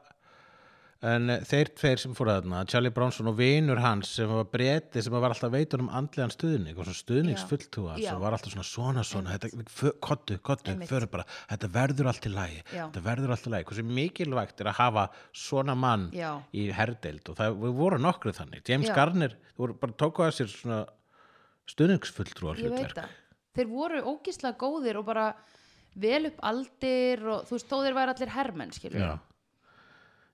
S2: En eh, þeir tveir sem fóru þarna, Charlie Bronson og vinur hans sem var breyti sem var alltaf veitur um andlegan stuðning og svona stuðningsfulltúa
S1: Já.
S2: sem var alltaf svona svona svona, þetta, fö- kottu, kottu,
S1: Einmitt.
S2: förum bara, þetta verður allt í lagi,
S1: Já.
S2: þetta verður allt í lagi, hversu mikilvægt er að hafa svona mann
S1: Já.
S2: í herdeild og það við voru nokkru þannig, James
S1: Já.
S2: Garner, þú voru bara tóku að sér svona stuðningsfulltrúa
S1: ég veit
S2: hlutverk.
S1: það þeir voru ógislega góðir og bara vel upp aldir og þú veist, þó þeir væri allir hermenn skilur
S2: Já,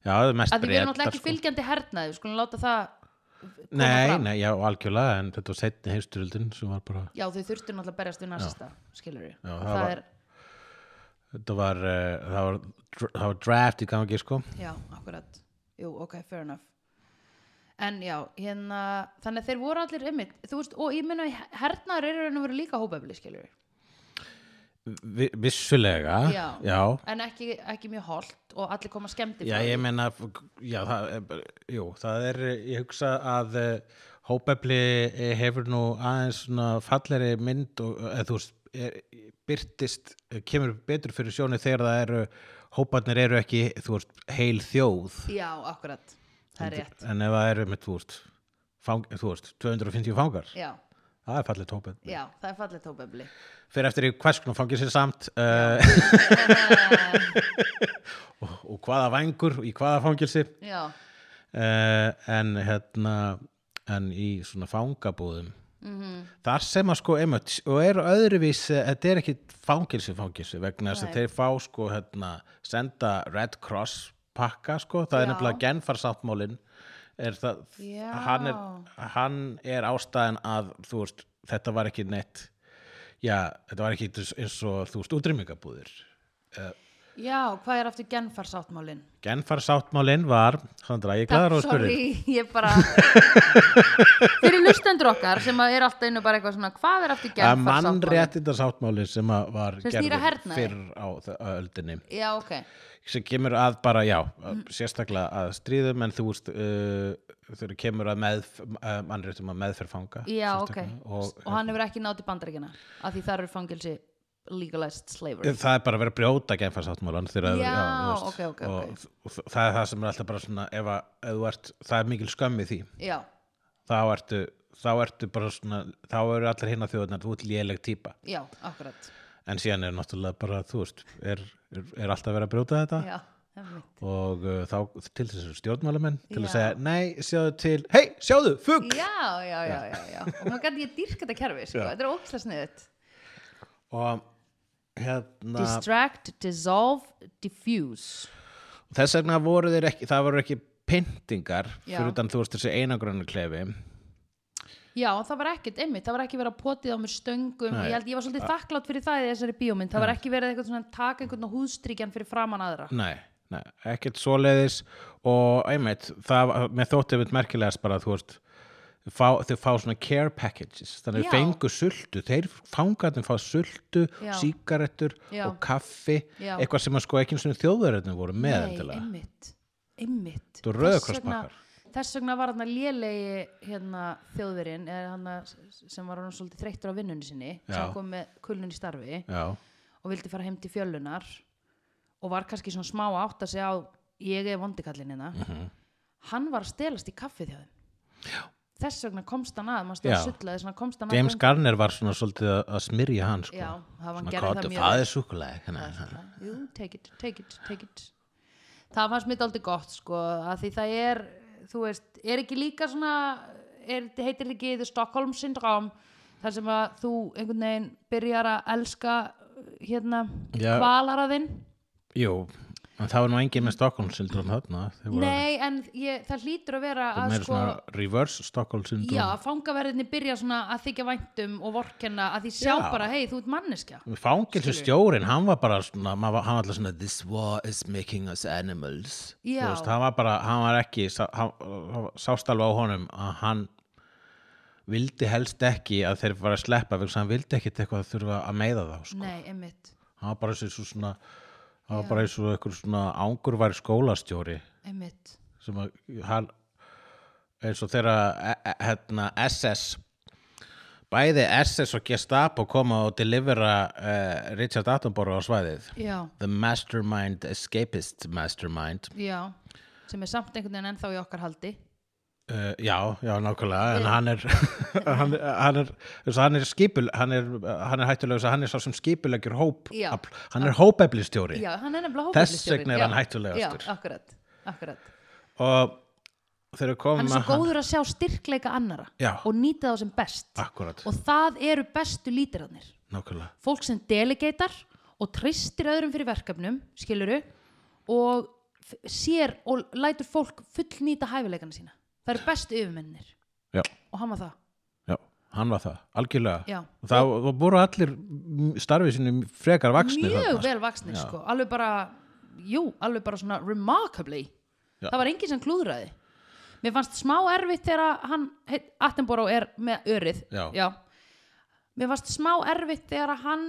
S2: já það er mest
S1: að því við
S2: Bretar,
S1: erum náttúrulega ekki
S2: sko.
S1: fylgjandi hernaði við skulum láta það koma
S2: Nei,
S1: fram.
S2: nei, já, algjörlega, en þetta var setni heimsturöldin sem var bara,
S1: já, þau þurftu náttúrulega að berjast við nasista skilur við
S2: Já,
S1: Og
S2: það var-
S1: er,
S2: þetta var, uh, það, var dr- það var draft í gangi, sko.
S1: já, akkurat, jú, ok, fair enough en já, hérna þannig að þeir voru allir ymmit þú veist, og ég minna, hernaðar eru en að vera líka hópefli skilur við,
S2: Vi, vissulega,
S1: Já.
S2: já,
S1: en ekki, ekki mjög holt og allir koma skemmti
S2: Já, ég meina, já, það, er bara- jú, það er, ég hugsa að eh, hópefli eh, hefur nú aðeins svona falleri mynd og, eh, eða þú veist, er, byrtist, eh, kemur betur fyrir sjónu þegar það eru, hóparnir eru ekki, þú veist, heil þjóð.
S1: já, akkurat, það er rétt
S2: En ef það eru með, þú veist, fang, þú veist, 250 fangar,
S1: já,
S2: það er fallið tópið.
S1: já, það er fallið hópefli
S2: Fyrir eftir í hvers konar fangir sér samt uh, og, og hvaða vængur, í hvaða fangilsi.
S1: já,
S2: uh, en hérna en í svona fangabúðum
S1: Mhm.
S2: þar sem að sko einmitt, og er öðruvísi, þetta er ekki fangilsi fangilsi vegna þess að þeir fá sko hérna, senda Red Cross pakka sko, það er
S1: Já.
S2: nefnilega genfarsáttmálin er það,
S1: Já.
S2: hann er, hann er ástæðan að þú veist, þetta var ekki neitt já, þetta var ekki eins og þú veist, útrýmingabúðir
S1: Já, hvað er aftur genfarsáttmálin?
S2: Genfarsáttmálinn var, hann dræði glæður og spurði,
S1: Sorry, ég bara Fyrir lustendur okkar sem að er alltaf innu bara eitthvað svona Hvað er aftur
S2: að
S1: genfarsáttmálin?
S2: mannréttindarsáttmáli sem að var
S1: Sem snýr að hernaði.
S2: fyrr á þ- á öldinni.
S1: Já, ok
S2: sem kemur að bara, já,
S1: Mm.
S2: sérstaklega að stríðum en þú veist uh, þegar kemur að með, uh, mannréttum að meðferð fanga
S1: Já, ok
S2: sérstaklega.
S1: Og, hann hefur ekki nátt í bandaríkina Af því þar eru fangelsi legalized slavery
S2: Það er bara að vera að brjóta genfarsáttmálan þegar að-
S1: Já,
S2: þú veist,
S1: ok, ok,
S2: og,
S1: ok.
S2: og þ- það er það sem er alltaf bara svona ef að, ef þú ert, það er mikil skömmi því
S1: Já,
S2: þá ertu, þá ertu bara svona þá eru allar hinna þjóðunar, þú ert léleg típa
S1: já, akkurat
S2: en síðan er náttúrulega bara, þú veist er, er, er alltaf verið að brjóta þetta
S1: Já, emmitt
S2: og uh, þá til þessu stjórnmálamenn til að
S1: Já.
S2: segja, nei, sjáðu til hei, sjáðu, fugg
S1: Já, já, já, já, já Og maður gæti ég dýrka þetta kerfi, sko
S2: Já.
S1: Þetta er ókslega sniðut
S2: og hérna
S1: Distract, dissolve, diffuse
S2: þess vegna voru þeir ekki, það voru ekki pyntingar
S1: Já.
S2: fyrir utan þú veist þessi einagrönu klefi
S1: Já, það var ekkert, einmitt, það var ekki verið að potið á mér stöngum
S2: Nei. Ah.
S1: Ég held, ég var svolítið þakklátt fyrir það í þessari bíómynd Það var ekki verið eitthvað svona að taka einhvern og húðstrykjan fyrir framan aðra
S2: nei, nei, ekkert svoleiðis og einmitt, það með þótti við merkilegast bara, þú veist Fá, þau fá svona care packages þannig
S1: Já.
S2: þau fengu sultu, þeir fangarnir fá sultu,
S1: Já.
S2: sígarettur
S1: Já.
S2: og kaffi,
S1: Já.
S2: eitthvað sem að sko ekki einu þjóðverðinu voru með
S1: Nei,
S2: endilega.
S1: einmitt, einmitt
S2: Þú Rauða
S1: Þess vegna-
S2: krossbakkar.
S1: Þess vegna var hann að lélegi hérna, þjóðverinn er hann sem var hann svolítið þreyttur á vinnunni sinni
S2: Já.
S1: sem kom með kulnun í starfi
S2: Já,
S1: og vildi fara heim til fjöllunar og var kannski svona smá að átta sig á ég er vondikallina mm
S2: Mhm.
S1: hann var að stelast í kaffið hjá þeim þess vegna komst hann að maður stóð
S2: Já.
S1: að sulla þess vegna komst hann
S2: James
S1: að
S2: Garner var svona svolítið að- að smyrja hann sko.
S1: Já, það var- hann
S2: Svona
S1: gerði það
S2: kátur,
S1: mjög
S2: Það
S1: vel."
S2: er súkulega hérna.
S1: Jú, take it, take it, take it það fannst mér aldrei gott sko að því það er, þú veist er ekki líka svona er, heitir þetta ekki The Stockholm Syndrome þar sem að þú einhvern veginn byrjar að elska hérna
S2: Já.
S1: kvalaraðinn
S2: Jú, en það var nú engin með Stockholm syndrom þarna Þeir voru-
S1: Nei, en ég, það hlýtur að vera
S2: þeir
S1: að
S2: meira
S1: sko
S2: svona reverse Stockholm syndrom
S1: Já, fangaverðinni byrja svona að þykja væntum og vorkenna að því sjá
S2: Já.
S1: bara, hei, þú ert manneskja.
S2: Fangilsu stjórin, hann var bara svona, maður var- hann var alltaf svona This war is making us animals Þú
S1: Já.
S2: veist, Hann var bara, hann var ekki sá- hann, hann- sást alveg á honum að hann vildi helst ekki að þeir var að sleppa vegna þess að hann vildi ekkit eitthvað að þurfa að meiða þá sko.
S1: Nei, einmitt,
S2: hann var bara eins og svona hann var bara eins og einhver svona ángurvær skólastjóri
S1: einmitt.
S2: sem að hann eins og þeirra e- e- hérna, SS bæði SS og Gestapo koma og delivera uh, Richard Attenborough á svæðið
S1: Já,
S2: The Mastermind Escapist Mastermind
S1: já, sem er samt einhvern veginn ennþá í okkar haldi.
S2: uh, já, já, nákvæmlega en hann er hann, er- hann er, þess að hann er skipul hann er, hann er hættulegur þess að hann er sá sem skipulegur hóp
S1: Já.
S2: afl. hann er hópeflistjóri
S1: Já, hann er nefnilega
S2: Þess
S1: hópeflistjórinn.
S2: vegna er hann
S1: Já,
S2: hættulegastur.
S1: Já, akkurat, akkurat.
S2: og þegar við komum
S1: Hann er svo góður að sjá styrkleika annara
S2: Já.
S1: og nýta þá sem best.
S2: Akkúrat.
S1: Og það eru bestu lítirarnir.
S2: nákvæmlega
S1: fólk sem delegatar og tristir öðrum fyrir verkefnum, skiluru, og f- sér og lætur fólk fullnýta hæfileikana sína. Það eru bestu yfirmennir
S2: já,
S1: og hann var það.
S2: já, hann var það, algjörlega
S1: Já.
S2: og það og... voru allir starfið sinni frekar vaksnir
S1: Mjög
S2: þarna, sko.
S1: vel vaksnir, sko. Alveg bara, jú, alveg bara svona remarkably.
S2: Já.
S1: Það var enginn sem klúðraði. Mér fannst smá erfitt þegar að hann, heit, Attenborough er með örið.
S2: Já.
S1: Mér fannst smá erfitt þegar að hann,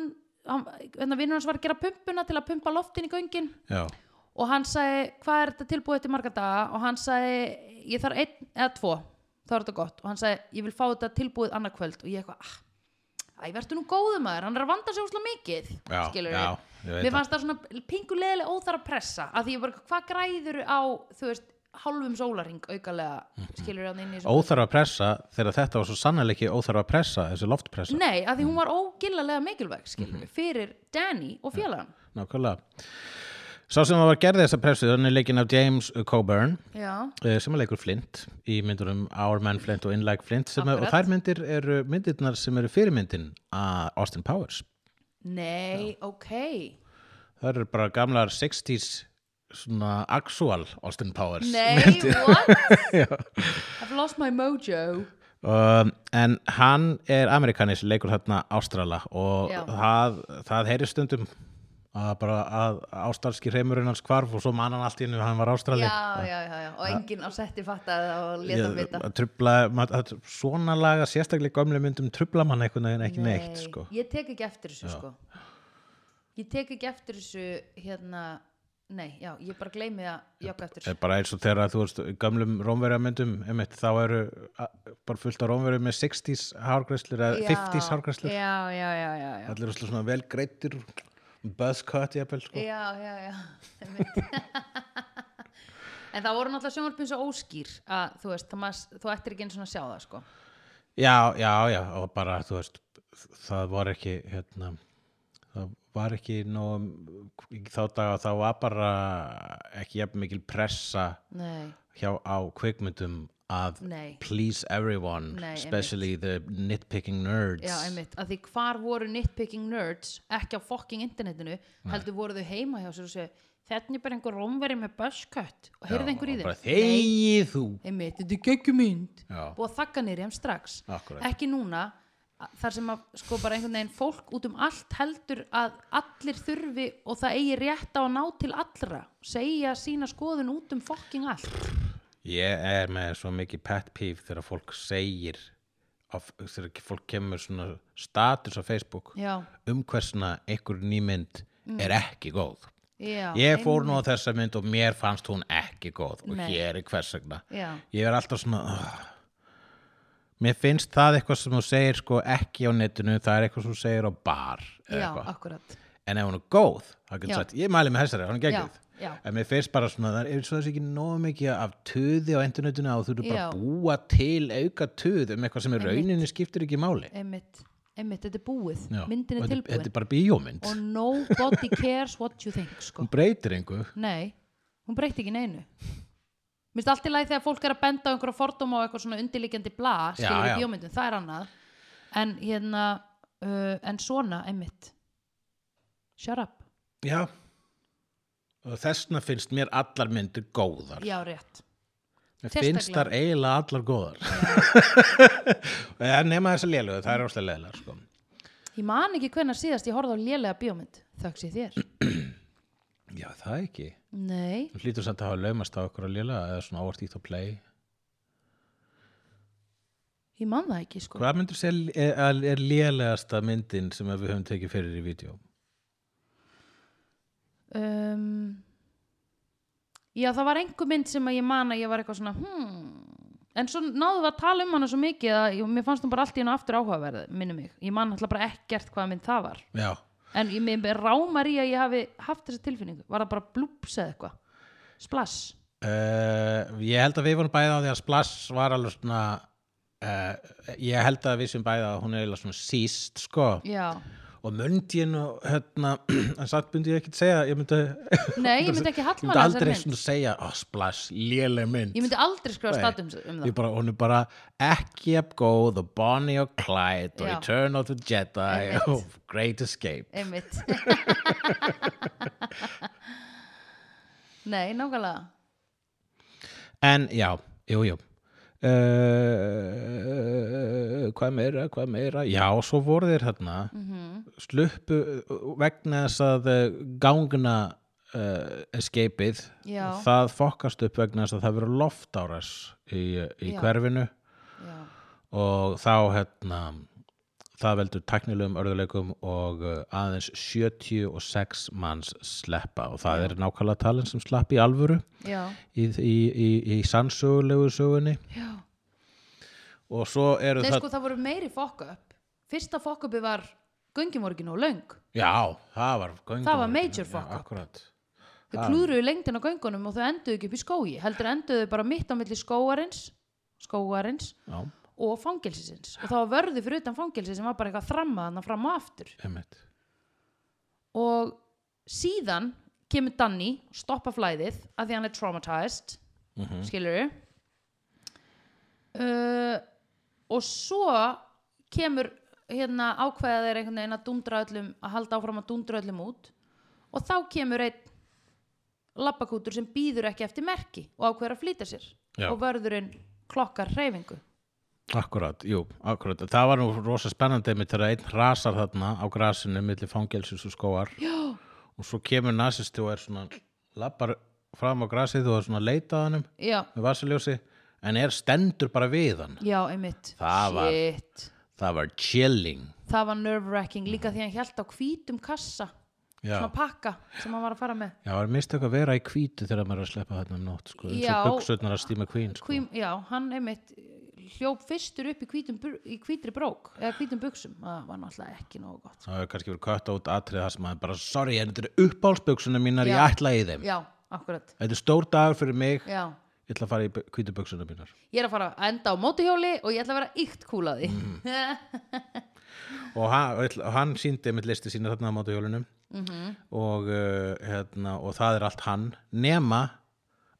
S1: hann vinnur hans var að gera pumpuna til að pumpa loftin í göngin.
S2: já,
S1: og hann sagði hvað er þetta tilbúið til marga daga og hann sagði ég þarf einn eða tvo þá er þetta gott og hann sagði ég vil fá þetta tilbúið annað kvöld og ég eitthvað ah, æ, verður nú góðum maður, hann er að vanda sig úslega mikið
S2: Já,
S1: skilurðu.
S2: já, ég veit
S1: mér
S2: það.
S1: fannst það svona pingulegilega óþar að pressa af því ég bara, hvað græður á þú veist, hálfum sólaring aukalega skilur hann inn í þessu
S2: Mhm. óþarfa pressa þegar þetta var svo sannlega ekki óþarfa pressa Mhm. þessi loftpressa,
S1: nei, af því hún var ógillalega mikilvæg skilur fyrir Danny og félagann
S2: nákvæmlega sá sem var gerði þessa pressu hann er leikinn af James Coburn
S1: já,
S2: eh, sem er leikur Flint í myndunum Our Man Flint og In Like Flint sem, er- og
S1: Akkurat.
S2: þær myndir eru myndirnar sem eru fyrirmyndin að Austin Powers
S1: nei, ok
S2: það eru bara gamlar 60s svona actual Austin Powers
S1: nei, what? I've lost my mojo
S2: um, en hann er amerikanis leikur þarna Ástrala og
S1: Já.
S2: það, það heyri stundum að bara að ástralski reymurinn hans hvarf og svo man hann allt í hennu hann var ástrali
S1: já, já, já, já, og enginn á setti fattaði það og leta
S2: Ég-
S1: vita
S2: að trubla, maður- að tr- svona laga sérstaklega í gömlu myndum trubla mann einhvern veginn ekki neitt
S1: Nei,
S2: sko.
S1: ég tek ekki eftir þessu sko ég tek ekki eftir þessu hérna, nei, já, ég bara gleymi að jogga eftir
S2: Eh,
S1: þessu
S2: bara eins og þegar að þú veist í gömlum rómverjamyndum einmitt, þá eru a- bara fullt af rómverjum með 60s hárgræslur eða
S1: Já,
S2: 50s hárgræslur
S1: já, já, já, já, já.
S2: allir eru svona vel greittir buzz cut jafnvel sko.
S1: já, já, já einmitt. en það voru náttúrulega sjónvarpin svo óskýr að þú veist, það maður, þú ættir ekki einn svona að sjá það sko
S2: já, já, já og bara þú veist það var ekki hérna, það var ekki nóg, um, í þá daga þá var bara ekki jafn mikil pressa
S1: nei,
S2: hjá á kvikmyndum að
S1: nei,
S2: please everyone,
S1: Nei,
S2: especially the nitpicking nerds
S1: já, einmitt að því hvar voru nitpicking nerds ekki á fucking internetinu, heldur voru þau heima hjá sér og segja, þetta er bara einhver rómveri með buskött og heyrðu einhver í
S2: og
S1: þeim
S2: bara þegi þú
S1: einmitt, þetta er geggjumynd
S2: Já.
S1: búið að þakka nýri hann strax
S2: Akkúrat.
S1: ekki núna a- þar sem að sko bara einhvern veginn fólk út um allt heldur að allir þurfi og það eigi rétt á að ná til allra segja sína skoðun út um fokking allt
S2: ég er með svo mikið pet peeve þegar fólk segir af, þegar fólk kemur svona status á Facebook
S1: já,
S2: um hversna einhver nýmynd er ekki góð
S1: Mm. já,
S2: ég fór nú á þessa mynd og mér fannst hún ekki góð og
S1: Nei.
S2: hér er hversagna
S1: ein- já,
S2: ég er alltaf svona "Ugh." mér finnst það eitthvað sem þú segir sko ekki á netinu, það er eitthvað sem þú segir á bar eða
S1: já,
S2: eitthvað.
S1: akkurat
S2: en ef hún er góð, það
S1: Já.
S2: getur sagt ég mæli með þessari, hann er
S1: já,
S2: geggjöð
S1: já,
S2: en mér finnst bara svona, það er eins og þessi ekki nógu mikið af töði á internetinu og þú eru bara
S1: Já.
S2: að búa til auka töð um eitthvað sem í
S1: Einmitt.
S2: rauninni skiptir ekki máli
S1: einmitt, einmitt þetta er búið,
S2: Já. Og
S1: myndin er
S2: þetta-
S1: tilbúin
S2: þetta er bara bíómynd,
S1: og nobody cares what you think sko.
S2: hún breytir einhver
S1: Nei, hún breytti ekki neinu Mér finnst allt í lagi þegar fólk er að benda á einhverja fordóma og eitthvað svona undirliggjandi bla skilur
S2: Já,
S1: við
S2: já.
S1: bíómyndum, það er annað en hérna, uh, en svona einmitt Shut up,
S2: já og þessna finnst mér allar myndir góðar
S1: já rétt
S2: Mér finnst
S1: Sérstaklega.
S2: þar eiginlega allar góðar en nema þessar lélugu, það er óslega lélugar sko.
S1: Ég man ekki hvenær síðast ég horfði á lélega bíómynd þöggs ég þér
S2: já, það ekki
S1: Nei,
S2: þú hlýtur samt að hafa laumast á okkur að léluga eða svona ávart ítt á play
S1: ég man það ekki sko
S2: hvað myndir sér er, er lélegasta myndin sem að við höfum tekið fyrir í vídeo
S1: um, Já, það var einhver mynd sem að ég man að ég var eitthvað svona hmm. En svo náðum við að tala um hana svo mikið að ég, mér fannst hún bara allt í hennu aftur áhugaverð, minnum mig. Ég man alltaf bara ekkert hvaða mynd það var.
S2: já,
S1: En ég mér rámar í að ég hafi haft þessa tilfinningu. Var það bara blúps eða eitthvað? Splass?
S2: uh, ég held að við vorum bæði á því að Splash var alveg svona uh, ég held að við sem bæði að hún er eiginlega svona síst sko.
S1: Já.
S2: og myndi ég nú hérna, en samt myndi ég ekki segja ég myndi
S1: Nei, ég myndi ekki
S2: Ég
S1: hallmæla
S2: myndi
S1: þessari
S2: aldrei
S1: mynd.
S2: svona segja, oh, splash, léleg mynd.
S1: Ég myndi aldrei skrifa
S2: Nei.
S1: statum um
S2: Ég
S1: það.
S2: bara, hún er bara ekki að góð og Bonnie og Clyde og
S1: Já.
S2: Return of the Jedi
S1: Einmitt.
S2: og Great Escape.
S1: Einmitt. Nei, nákvæmlega.
S2: En já, jú, jú. Uh, hvað meira, hvað meira já, svo voru þeir hérna
S1: Mhm.
S2: sluppu vegna þess að uh, gangna uh, escapeið
S1: Já.
S2: það fokkast upp vegna þess að það verður loftáras í, í
S1: Já.
S2: hverfinu
S1: Já.
S2: og þá hérna það veldur teknilegum örðuleikum og uh, aðeins 76 manns sleppa og það er nákvæmlega talin sem slapp í alvöru
S1: Já.
S2: í, í, í, í sannsögulegu sögunni
S1: Já.
S2: og svo eru
S1: Nei,
S2: það
S1: sko, það voru meiri fokk-up. Fyrsta fokk-upi var göngin voru ekki nóg löng.
S2: já, það var göngum,
S1: Það var major fuck up.
S2: akkurat
S1: Þau klúðruðu lengdin á göngunum og þau enduðu ekki upp í skói. Heldur enduðu þau bara mitt á milli skóarins, skóarins
S2: já,
S1: og fangelsisins. Og það var vörðu fyrir utan fangelsi sem var bara eitthvað þrammaðan fram og aftur.
S2: einmitt
S1: Og síðan kemur Danny, stoppa flæðið af því hann er traumatized, mm
S2: Mhm.
S1: -hmm. Uh, og svo kemur hérna ákveða þeir einhvern veginn að dundra öllum, að halda áfram að dundra öllum út og þá kemur einn labbakútur sem býður ekki eftir merki og ákveður að flýta sér
S2: Já.
S1: og vörðurinn klokkar reyfingu.
S2: Akkurat, jú, akkurat. Það var nú rosa spennandi með þegar einn rasar þarna á grasinu milli fangelsus og skóar
S1: Já,
S2: og svo kemur nasisti og er svona lappar fram á grasið og er svona að leita að hannum
S1: já,
S2: með vasaljósi en er stendur bara við hann
S1: já, einmitt
S2: Það var-
S1: Shit.
S2: það var chilling
S1: það var nerve-wracking líka því hann hjælt á hvítum kassa
S2: já,
S1: svona pakka sem hann var að fara með
S2: já var mistök að vera í hvítu þegar maður er að sleppa þarna um nótt sko, eins
S1: Já.
S2: og buksutnar að stíma kvín sko.
S1: Hvím, já, hann einmitt eh, hljóp fyrstur upp í, hvítum, bur- í hvítri brók eða hvítum buksum, það var náttúrulega ekki nógu gott
S2: það hefur kannski verið kött út atrið það sem maður bara, sorry, en þetta eru uppálsbuksunar mínar ég
S1: Já.
S2: ætla í þeim
S1: já, akkurat,
S2: þetta er stór dagur fyrir mig
S1: já
S2: ég ætla að fara í bu- hvítu buksunar mínar
S1: ég er að fara að enda á mótuhjóli og ég ætla að vera ykt kúlaði
S2: Mm. og hann, og ætla- og hann síndi mitt listi sína þarna á móti hjólunum
S1: Mhm.
S2: -hmm. og, uh, hérna, og það er allt hann nema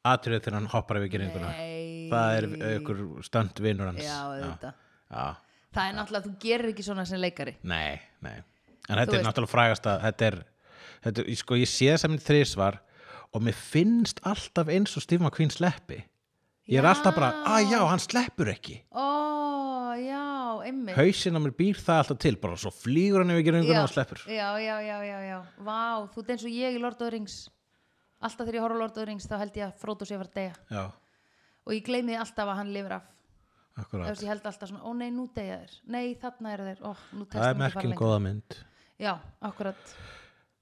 S2: atriðið þegar hann hoppar yfir geringuna
S1: Nei,
S2: það er ykkur stönd vinnur hans
S1: já, auðvitað
S2: já.
S1: það er náttúrulega, þú gerir ekki svona sem leikari
S2: nei, nei en þetta er
S1: veist.
S2: náttúrulega frægasta þetta er, þetta, er- sko ég sé sem þrísvar og mér finnst alltaf eins og Steve McQueen sleppi ég er alltaf bara, að já, hann sleppur ekki
S1: ó, já, einmitt
S2: hausinn á mér býr það alltaf til bara svo flýgur hann yfir geringuna
S1: já,
S2: og sleppur
S1: já, já, já, já, já, vá, þú ert eins og ég í Lord of the Rings alltaf þegar ég horf á Lord of the Rings þá held ég að Frodo sé að fara að deyja
S2: já,
S1: og ég gleymi alltaf að hann lifir af
S2: akkurat
S1: þess að ég held alltaf svona, ó nei, nú deyja þeir nei, þarna eru þeir, ó, nú telst
S2: það er sko.
S1: hann ekki
S2: merkjum
S1: fara
S2: góða mynd
S1: lengra já, akkurat,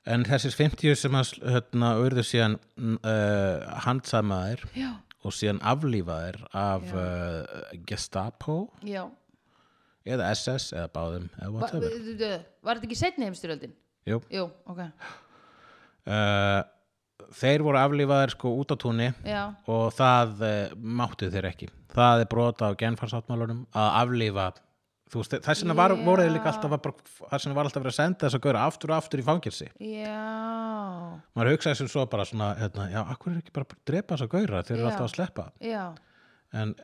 S2: en þessir 50 sem hans hérna, urðu síðan uh, handsamaðir
S1: já,
S2: og síðan aflífaðir af uh, Gestapo
S1: já
S2: eða SS eða báðum eða
S1: Va-
S2: whatever
S1: du- du- du- var þetta ekki setni heimstyrjöldin?
S2: Jú.
S1: jú, ok,
S2: Uh, þeir voru aflífaðir sko út á túnni
S1: já
S2: og það uh, máttu þeir ekki það er brota á genfarsáttmálunum að aflífa þú veist, þess vegna var,
S1: Já.
S2: voru þeir líka alltaf að bara, þess vegna var alltaf verið að senda þess að gauðra aftur og aftur í fangilsi
S1: já,
S2: maður hugsaði sem svo bara svona hérna, já, akkur er ekki bara að drepa þess að gauðra þeir eru
S1: Já.
S2: alltaf að sleppa
S1: já
S2: en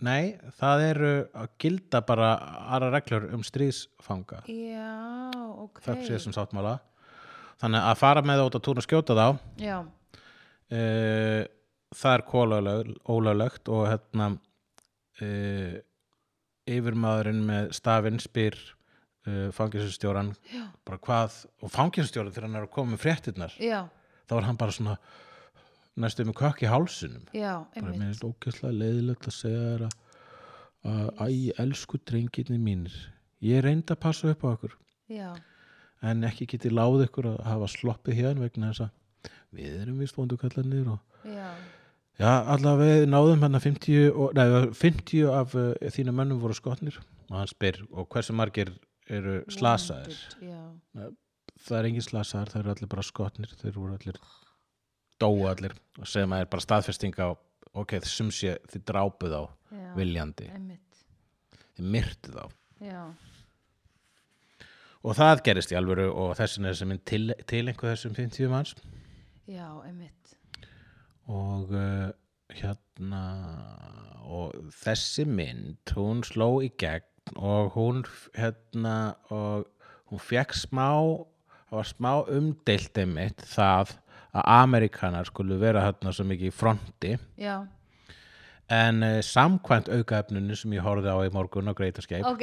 S2: nei, það eru að gilda bara aðra reglur um stríðsfanga
S1: já, ok
S2: þökk sér sem sáttmála þannig að fara með það út á túnu og skjóta þá
S1: já,
S2: e, það er kólöglögt og hérna e, yfirmaðurinn með stafinn spyr e, fangilsustjóran bara hvað, og fangilsustjóran þegar hann er að koma með fréttirnar
S1: já,
S2: þá var hann bara svona næstu með kökk í hálsunum
S1: já,
S2: bara
S1: einmitt
S2: mér finnst ókesslega leiðilegt að segja þér að, að æ, elsku drengirni mínir ég reyndi að passa upp á ykkur
S1: já,
S2: en ekki geti láð ykkur að hafa sloppið hérna vegna þess að við erum vist vondukallanir og
S1: já,
S2: já, allavega við náðum hérna 50, og, nei, 50 af uh, þínu mönnum voru skotnir og hann spyr og hversu margir eru slasaðir
S1: Wounded, já
S2: það er engin slasaðir, það eru allir bara skotnir þeir voru allir dóu allir og sem er bara staðfesting á ok, þessum sé þið drápuð á
S1: Já,
S2: viljandi,
S1: einmitt,
S2: þið myrtu þá
S1: já,
S2: og það gerist í alvöru og þessin er sem minn til, til einhver þessum 50 manns
S1: já, einmitt
S2: og uh, hérna og þessi mynd hún sló í gegn og hún f- hérna og hún fekk smá það var smá umdeilt einmitt það að Amerikanar skulu vera hérna svo mikið í fronti
S1: já,
S2: en uh, samkvæmt aukaefninu sem ég horfði á í morgun á Greitarskeip
S1: ok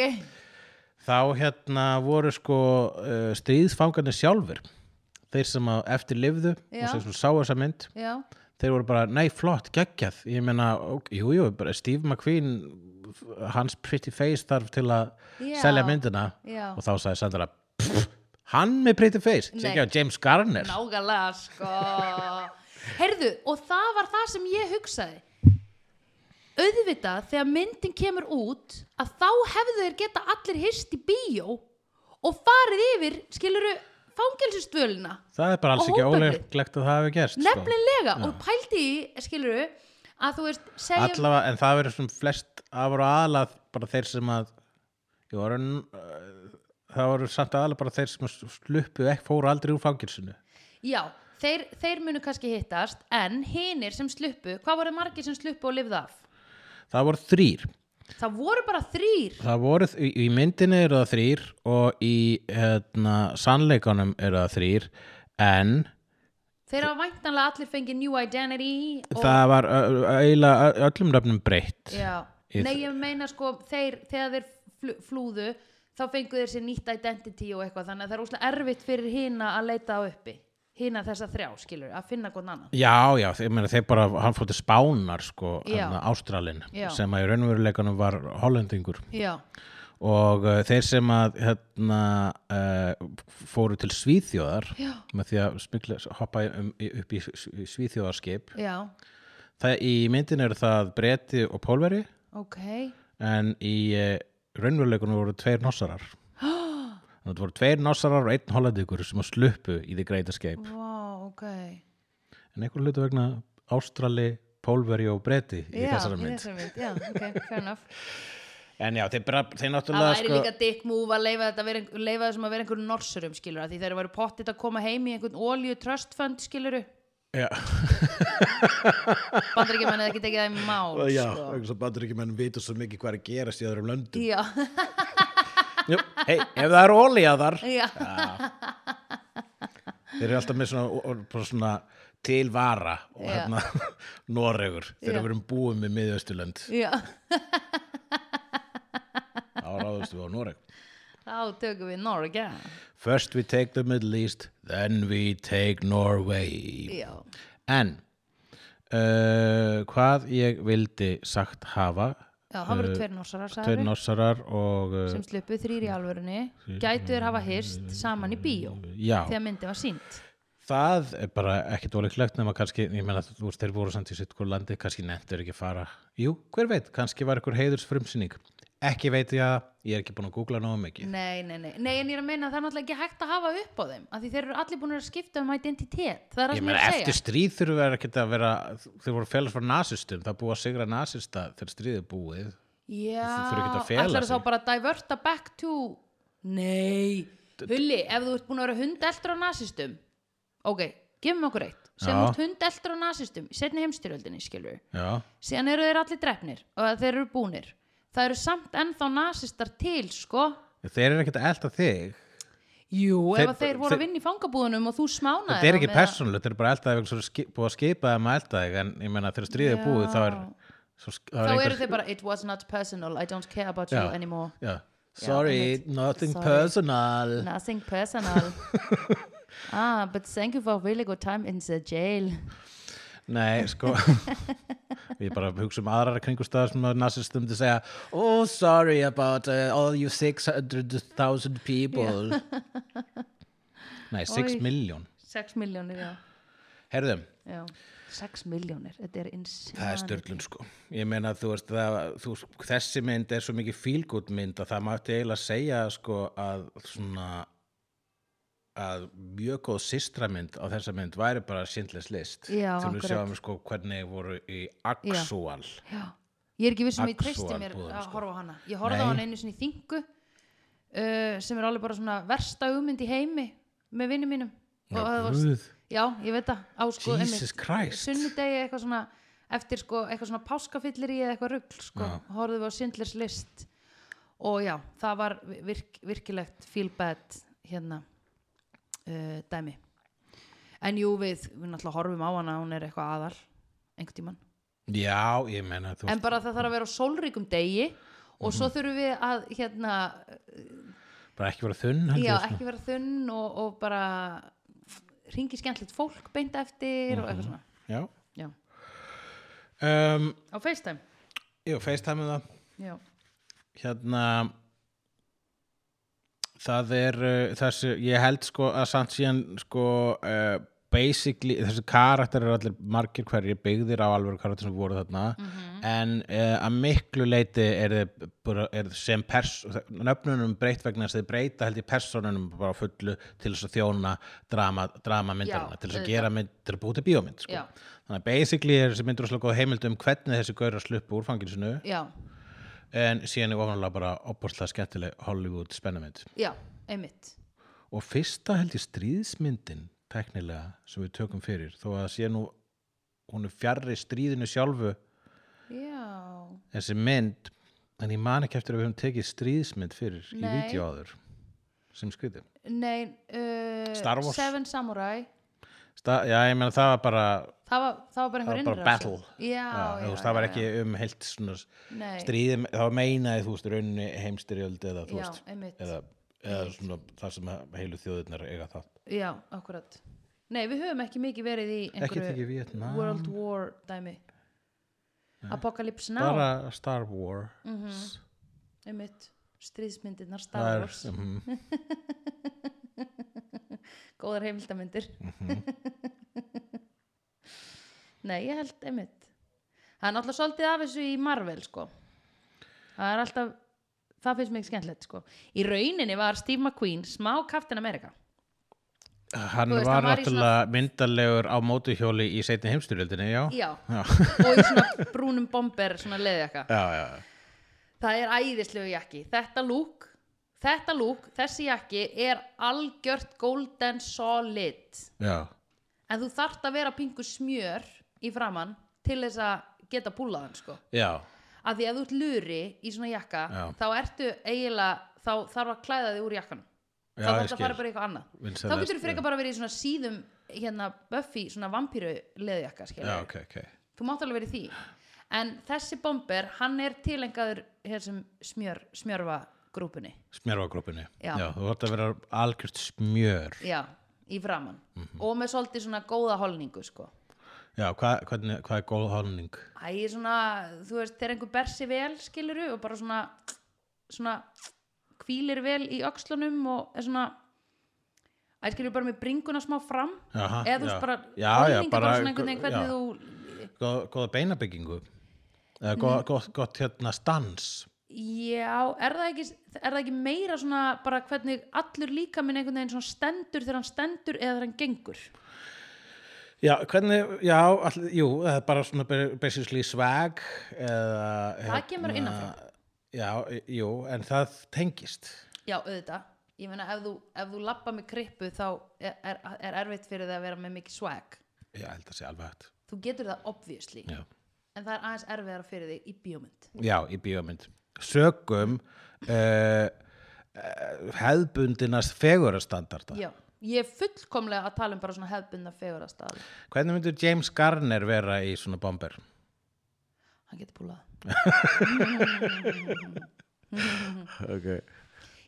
S2: þá hérna voru sko uh, stríðfangarnir sjálfur þeir sem að eftir lifðu
S1: Já.
S2: og sem svo sá þessa mynd
S1: já,
S2: þeir voru bara, nei flott, geggjað ég meina, ok, jú, jú, bara Steve McQueen hans pretty face þarf til að
S1: Já.
S2: selja myndina
S1: Já.
S2: og þá sagði Sandra "Pff, hann með pretty face,
S1: Nei.
S2: sem ekki á James Garner
S1: nágalega sko heyrðu, og það var það sem ég hugsaði auðvitað þegar myndin kemur út að þá hefðu þeir geta allir hist í bíó og farið yfir skiluru fangelsistvölina
S2: það er bara alls
S1: Og
S2: ekki
S1: hópeflið.
S2: óleglegt að það hafi gerst sko.
S1: nefnilega og pældi í skiluru að þú veist segjum
S2: allavega, en það verður svona flest að voru aðalað bara þeir sem að ég voru uh, það voru samt aðalað bara þeir sem sluppu ekki fóru aldrei úr fangilsinu
S1: Já, þeir, þeir munu kannski hittast en hinir sem sluppu, hvað voru margir sem sluppu og lifðu af?
S2: það voru þrýr
S1: Það voru bara þrýr
S2: Það voru, í, í myndinni eru það þrýr og í hérna, sannleikanum eru það þrýr en
S1: Þeir hafa væntanlega allir fengið new identity og,
S2: það var ö- ö- eiginlega ö- öllum röfnum breytt
S1: Já,
S2: Í-
S1: nei ég meina sko þeir, þegar þeir fl flúðu þá fengu þeir sér nýtt identity og eitthvað þannig að það er úslega erfitt fyrir hina að leita á uppi hina þessa þrjá, skilur, að finna hvern annan
S2: Já, já, þeir, meni, þeir bara, hann fór til Spánar sko,
S1: Já.
S2: hann Ástralin
S1: Já.
S2: sem að í raunveruleikanum var hollendingur
S1: Já,
S2: og uh, þeir sem að hérna, uh, fóru til Svíþjóðar
S1: já,
S2: með því að smikla, hoppa um, í- upp í s- í Svíþjóðarskip
S1: já,
S2: það, í myndin eru það Breti og Pólveri
S1: ok
S2: en í uh, raunveruleikanum voru tveir nossarar þannig að það voru tveir nossarar og einn hollendingur sem að sluppu í The Great Escape
S1: Vá, ok
S2: en einhver hlutu vegna Ástrali, Pólveri og Breti í
S1: já,
S2: þessari mynd
S1: Í þessari mynd, já, ok, fair enough
S2: En já, þeir, bara, þeir
S1: Það
S2: náttúrulega
S1: væri
S2: sko,
S1: líka dick move að leifa, þetta að vera, ein- leifa þessum að vera einhverjum norsurum, skilur að því þeir eru pottit að koma heim í einhvern olíu trust fund, skilur
S2: já,
S1: Bandar ekki mennið ekki tekið það í mál,
S2: já,
S1: sko
S2: vegna svo bandaríkjumenn vita svo mikið hvað er að gerast í öðrum löndum
S1: Já,
S2: Jú, hei, ef það er ólíja þar
S1: já,
S2: þeir eru alltaf með svona, og- og, bara svona tilvara og
S1: Já.
S2: hérna Noregur, þeir
S1: Já.
S2: eru verið búið með miðausturlönd
S1: já
S2: þá ráðustu við á Noreg
S1: Þá tökum við Norge
S2: First we take the Middle East then we take Norway
S1: Já,
S2: En uh, hvað ég vildi sagt hafa
S1: já það voru tveir norsarar,
S2: Eh, tveir
S1: sagður
S2: nossarar og uh,
S1: sem sluppu þrýri í alvörunni gætu þeir hafa hyrst saman í bíó
S2: já,
S1: þegar myndi var sínt
S2: Það er bara ekki dólíklegt nema kannski, ég meina þú veist, þeir voru samt í sitt hvort landi, kannski nefndur ekki að fara. Jú, hver veit, kannski var ykkur heiðurs frumsýning. Ekki veit ég að, ég er ekki búin að googla náðu mikið.
S1: Nei, nei, nei, nei, en ég er að meina að það er náttúrulega ekki hægt að hafa upp á þeim af því þeir eru allir búin að skipta um identitet það er það
S2: Ég
S1: sem ég
S2: meina,
S1: er að
S2: eftir
S1: segja
S2: stríð þurfum við ekki að vera, þeir voru félags frá nasistum, það er búið að sigra nasista þegar stríðið er búið.
S1: Já,
S2: þú þurfir ekki að fela
S1: ætlarðu
S2: sig.
S1: þá bara að diverta back to Nei, Hulli, ef þú ert búin að vera hundeldur á nasistum Ok, gefum okkur eitt sem
S2: Já.
S1: út hundeldur á nasistum í setni heimstyrjöldinni, skilur
S2: Já,
S1: síðan eru þeir allir drefnir og þeir eru búnir það eru samt ennþá nasistar til, sko
S2: þeir eru ekkert að elta þig.
S1: Jú,
S2: Þeir-
S1: ef að þeir voru
S2: þeir-
S1: að vinna í fangabúðunum og þú smánaði
S2: Þetta er ekki persónulegt, þeir eru bara að elta þig, vegna svo er ski- búið að skipa þeim um að elta þig, en ég meina þegar stríðið er búið, þá er, svo, sk- það
S1: þá
S2: er
S1: eru þeir bara, it was not personal I don't care about
S2: Já.
S1: you anymore
S2: Já. Sorry,
S1: einmitt.
S2: nothing
S1: Sorry.
S2: personal.
S1: nothing personal ah, but thank you for a really good time in the jail
S2: Nei, sko Ég bara hugsa um aðrar kringustæðar sem að nazistum til að segja Oh, sorry about uh, all you 600,000 people Nei, 6
S1: Oj.
S2: miljón
S1: 6 miljónir, já,
S2: Herðum,
S1: já. 6 miljónir, þetta er insane
S2: það er störlun sko Ég meina, þú veist, það, þú, þessi mynd er svo mikið fílgútt mynd að það mátti eiginlega segja sko að svona að mjög góð systramynd á þessa mynd væri bara síndlis list
S1: Já,
S2: til við
S1: akkurat.
S2: sjáum sko hvernig voru í actual
S1: Já, ég er ekki vissum að ég treysti
S2: Actual
S1: mér
S2: búðum,
S1: að
S2: sko.
S1: horfa á hana. Ég horfði
S2: Nei.
S1: á hana einu sinni í þingu uh, sem er alveg bara svona versta hugmynd í heimi með vinnum mínum. Og það var-
S2: Guð.
S1: já, ég veit það. Á, sko,
S2: Jesus Christ.
S1: Sunnudegi eitthvað svona, eftir sko, eitthvað svona páskafillir í eða eitthvað rugl, sko.
S2: Já.
S1: Horfðum við á Sindlers list og já, það var virk, virkilegt feel bad hérna uh, dæmi. En jú, við, við náttúrulega horfum á hana, hún er eitthvað aðal, einhvern tímann
S2: Já, ég menna þú Mhm.
S1: en bara það þarf að vera á sólríkum degi og svo þurfum við að hérna,
S2: bara ekki vera þunn held
S1: já,
S2: ég, sko.
S1: ekki vera þunn og, og bara ringi skemmtilegt fólk beint eftir og
S2: Mhm.
S1: eitthvað svona
S2: Já
S1: já.
S2: um,
S1: á FaceTime
S2: Jú, FaceTime það
S1: já.
S2: Hérna Það er uh, þessi, ég held sko að samt síðan sko uh, basically, þessi karakter eru allir margir hverjir byggðir á alveg karakter sem voru þarna
S1: Mhm.
S2: en uh, að miklu leiti er þið, bara, er þið sem pers nöfnunum breytt vegna þess að þið breyta held ég personunum bara á fullu til þess að þjóna drama, dramamyndarina
S1: Já,
S2: til þess að
S1: auðvitað.
S2: gera mynd, til að búti bíómynd sko.
S1: Já.
S2: þannig að basically er þessi myndur óslega góð heimild um hvernig þessi gaurar sluppu úr fanginsinu
S1: já,
S2: en síðan er ofanlega bara opbórslega skemmtileg Hollywood spennamynd
S1: já, einmitt
S2: og fyrsta held ég stríðsmyndin teknilega sem við tökum fyrir þó að það sé nú hún er fjarrri stríðinu sjálfu
S1: já,
S2: þessi mynd en ég man ekki eftir að við höfum tekið stríðsmynd fyrir í
S1: Nei.
S2: vídeo áður sem skriði
S1: nei uh,
S2: Star Wars.
S1: Seven Samurai
S2: já ég meina það var bara
S1: það var, það var bara einhver
S2: Það var bara
S1: innrás.
S2: battle.
S1: já,
S2: já,
S1: já,
S2: þú veist, það var
S1: já,
S2: ekki
S1: já.
S2: um heilt svona
S1: Nei.
S2: stríði þá meinaði þú veist rauninni heimstyrjöld eða þú
S1: Já,
S2: veist
S1: einmitt.
S2: eða, eða svona það sem að heilu þjóðirnar eiga það
S1: já, akkurat Nei, við höfum ekki mikið verið í
S2: Ekkert
S1: einhverju
S2: ekki Vietnam.
S1: World War dæmi Apocalypse Now
S2: bara Star Wars
S1: einmitt, stríðsmyndirnar
S2: það
S1: Mhm, Star
S2: er
S1: Wars,
S2: mhm.
S1: góðar heimildamindir
S2: mhm.
S1: Nei, ég held einmitt Það er náttúrulega svolítið af þessu í Marvel sko Það er alltaf það finnst mér skemmtilegt sko Í rauninni var Steve McQueen smá Captain America
S2: hann
S1: Þú veist,
S2: var
S1: hann var í
S2: náttúrulega myndalegur á mótuhjóli í seinni heimstyrjöldinni já.
S1: Já,
S2: Já.
S1: og í svona brúnum bomber svona leðjaka
S2: Já, já, já.
S1: Það er æðislegu jakki. Þetta lúk, þetta lúk, þessi jakki er algjört golden solid.
S2: já.
S1: En þú þarft að vera pingu smjör í framann til þess að geta púlaðan, sko.
S2: já.
S1: Af því að þú ert luri í svona jakka,
S2: Já.
S1: þá ertu eiginlega, þá þarf að klæða þig úr jakkanum.
S2: Já,
S1: þá
S2: ég
S1: þarf
S2: skil.
S1: að fara bara í eitthvað annað.
S2: Vincent
S1: þá getur
S2: Lest,
S1: þú frekar bara verið í svona síðum, hérna, Buffy, svona vampíru leðjakka, skilja.
S2: já, ok, ok
S1: Þú mátt alveg verið því. En þessi bomber, hann er tilengaður þessum smjör, smjörfa grúpunni.
S2: smjörfagrúpinni,
S1: Já.
S2: já, þú vart að vera algjört smjör,
S1: Já, í framann.
S2: Mhm.
S1: Og með svolítið svona góða holningu, sko.
S2: já, hvað, hvernig, hvað er góð holning,
S1: Æ, svona, þú veist, þegar einhver ber sig vel, skiluru, og bara svona, svona, hvílir vel í öxlunum og er svona, æ, skilur bara með bringuna smá fram.
S2: Aha,
S1: Eða
S2: Ah, já.
S1: þú veist bara,
S2: Já, já,
S1: holninga bara,
S2: bara-
S1: svona einhvern veginn hvernig
S2: já.
S1: þú,
S2: góð, góða beinabyggingu eða
S1: Mhm.
S2: góð, gott, gott hérna stans
S1: Já, er það, ekki, er það ekki meira svona bara hvernig allur líka minn einhvern veginn svona stendur þegar hann stendur eða þegar hann gengur?
S2: já, hvernig, já, all, jú það er bara svona be- basically swag eða, hérna,
S1: Það kemur innan frá.
S2: já, e- jú, en það tengist
S1: Já, auðvitað. Ég meina ef þú, ef þú lappa með krippu þá er, er, er erfitt fyrir það að vera með mikið swag.
S2: já, held að sé alveg hægt
S1: Þú getur það obviously,
S2: já,
S1: en það er aðeins erfiðara fyrir þig í bíómynd.
S2: já í bíómynd sögum uh, hefðbundinast fegurastandarda
S1: Já, ég er fullkomlega að tala um bara svona hefbunda fegurastað.
S2: hvernig myndur James Garner vera í svona bomber
S1: Hann getur púlað.
S2: ok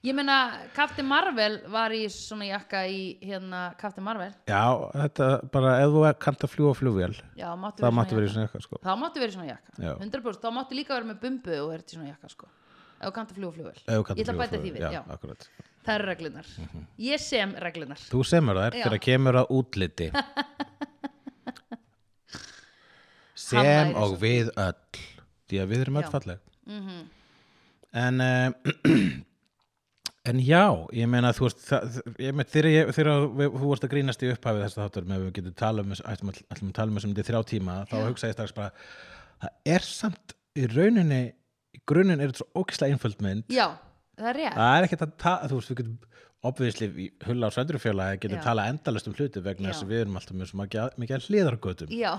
S1: Ég meina, Captain Marvel var í svona jakka í hérna Captain Marvel.
S2: Já, þetta bara, ef þú kannt að fljúa flugvél,
S1: Já, máttu
S2: það máttu
S1: svona hérna.
S2: verið í svona eitthvað, sko.
S1: þá máttu verið svona jakka
S2: Já.
S1: 100% þá máttu líka verið með bumbu og verið svona jakka sko ef þú kannt að fljúa flugvel
S2: Ef þú kannt
S1: ég ætla
S2: fljúga
S1: að bæta því
S2: flugvél,
S1: við, já,
S2: Já, akkurat.
S1: það eru reglunar ég sem reglunar
S2: Þú semur þær þegar
S1: Já.
S2: að kemur að útliti. sem
S1: væri
S2: og við öll. Því að við erum öll
S1: Já. Mhm.
S2: falleg. En, uh, en já, ég meina, þú veist, það, ég meina, þegar, ég, þegar við, þú vorst að grínast í upphafið þess að þáttur með við getum tala um, ætlum að ætlum að tala um þessum þetta í þrjá tíma, þá hugsa ég strax bara, það er samt í rauninni, í grunin er þetta svo ókislega einföld mynd
S1: já, það er rétt
S2: það er ekkert að tala, þú veist, við getum obviðisli hulla á söndrufjólagi getum
S1: Já.
S2: talað endalast um hluti vegna
S1: Já.
S2: þess að við erum alltaf með svo mikið að- mikið að hliðargötum
S1: já,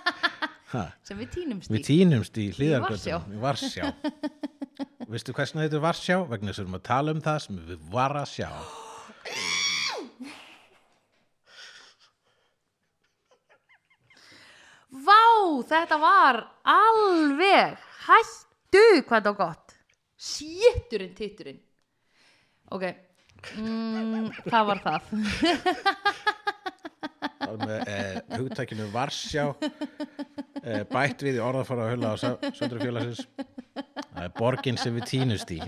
S2: ha,
S1: sem við týnumst í
S2: við týnumst í
S1: Varsjá.
S2: hliðargötum í Varsjá veistu hversna þetta er Varsjá vegna þess að við erum að tala um það sem við var að sjá
S1: vá, þetta var alveg hættu hvað þetta var gott séturinn títurinn ok mm, það var það
S2: Það er með eh, hugtækinu Varsjá eh, bætt við í orðafara að hulla á söndrufjólasins það er borgin sem við týnumst í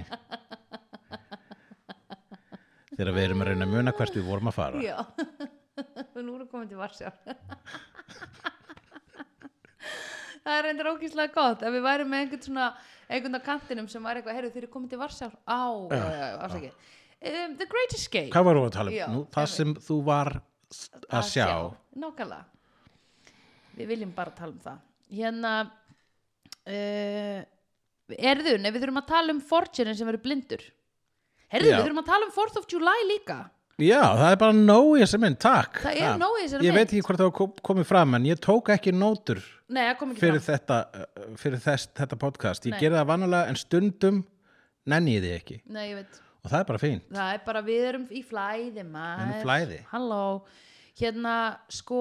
S2: þegar við erum að reyna að muna hvert við vorum að fara
S1: já og nú erum komin til Varsjár það er reyndar ókýrslega gott ef við værum með einhvern svona einhvern á kantinum sem var eitthvað, heyrðu þeir eru komin til Varsjár á, já, já, já, afsakið um, The Great Escape
S2: Hvað varum við að tala um?
S1: Já,
S2: Nú, það sem þú var s- að sjá.
S1: nákvæmlega við viljum bara tala um það hérna uh, erðu, nei við þurfum að tala um Fortune sem eru blindur heyrðu,
S2: Já.
S1: við þurfum að tala um 4th of July líka
S2: Já, það er bara nóg í þessari mynd, takk.
S1: Það er nóg í þessari
S2: Ég veit
S1: mynd.
S2: ekki hvort það var kom- komið fram, en ég tók ekki nótur
S1: nei, það kom ekki
S2: fyrir,
S1: fram
S2: þetta, uh, fyrir þess, þetta podcast. Ég
S1: Nei.
S2: gerði það vanalega, en stundum nenni ég því ekki.
S1: nei, ég veit
S2: Og það er bara fín.
S1: Það er bara, við erum í flæði, maður.
S2: Við erum í flæði.
S1: Halló. Hérna, sko,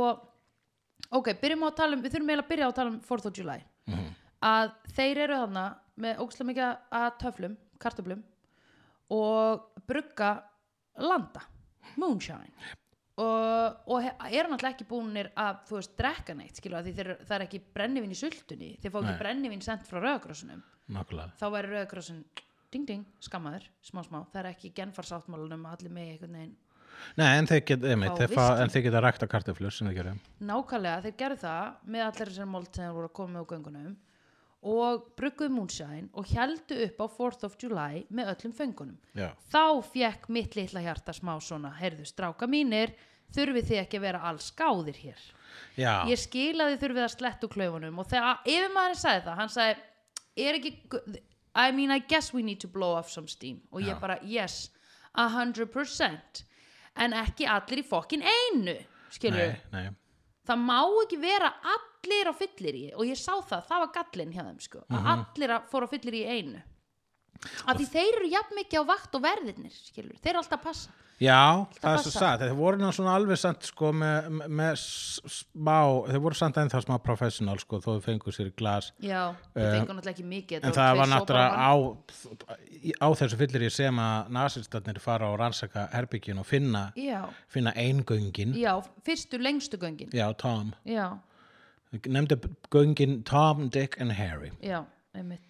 S1: ok, byrjum á að tala um, við þurfum eiginlega að byrja á að tala um 4th of July.
S2: Mhm.
S1: Að þeir eru þarna með ókslega mikið að töflum, kartöflum og brugga landa, moonshine. og, og he- eru náttúrulega ekki búnir að þú veist drekka neitt skilur af því þeir, það er ekki brennivín í sultunni þeir fá ekki
S2: Nei.
S1: brennivín sendt frá rauðakrossunum
S2: nákvæmlega
S1: þá væri rauðakrossun ding ding skammaður, smá smá, það er ekki genfarsáttmálunum að allir með einhvern veginn
S2: Nei, en þeir geta, einmitt,
S1: Á
S2: þeir fá,
S1: viskí.
S2: en þeir geta rækta kartöflur sem þeir gera
S1: nákvæmlega, þeir gerðu það með allar þessar mold sem þeir voru að koma með á göngunum og brugguðu moonshine og heldu upp á 4th of July með öllum föngunum
S2: Já,
S1: þá fekk mitt litla hjarta smá svona heyrðu stráka mínir, þurfið þið ekki að vera alls gáðir hér
S2: já,
S1: ég skil að þið þurfið að slettu klaufunum og þegar yfirmaðurinn sagði það, hann sagði er ekki, gu- I mean I guess we need to blow off some steam og ég
S2: Já.
S1: bara, yes, 100% en ekki allir í fokkin einu skilur
S2: nei, nei
S1: það má ekki vera allir á fyllir í og ég sá það, það var gallin hjá þeim sko, að
S2: Mhm.
S1: allir að fór á fyllir í einu af því þeir eru jafn mikið á vakt og verðirnir, skilur, þeir eru alltaf að passa
S2: Já, það er svo
S1: passa.
S2: satt, þeir voru ná svona alveg samt sko með, með s- smá, þeir voru samt ennþá smá professional sko þó þau fengu sér í glas
S1: já, þeir fengur náttúrulega ekki mikið
S2: Eh, En
S1: þetta
S2: það
S1: tveir
S2: var
S1: sópar
S2: náttúrulega
S1: mann.
S2: á, á þessu fyllir ég sem að nasistarnir fara og rannsaka herbyggin og finna,
S1: já,
S2: finna eingöngin.
S1: já, fyrstu lengstu göngin
S2: Já, Tom.
S1: já,
S2: Nefndi göngin Tom, Dick and Harry
S1: já, einmitt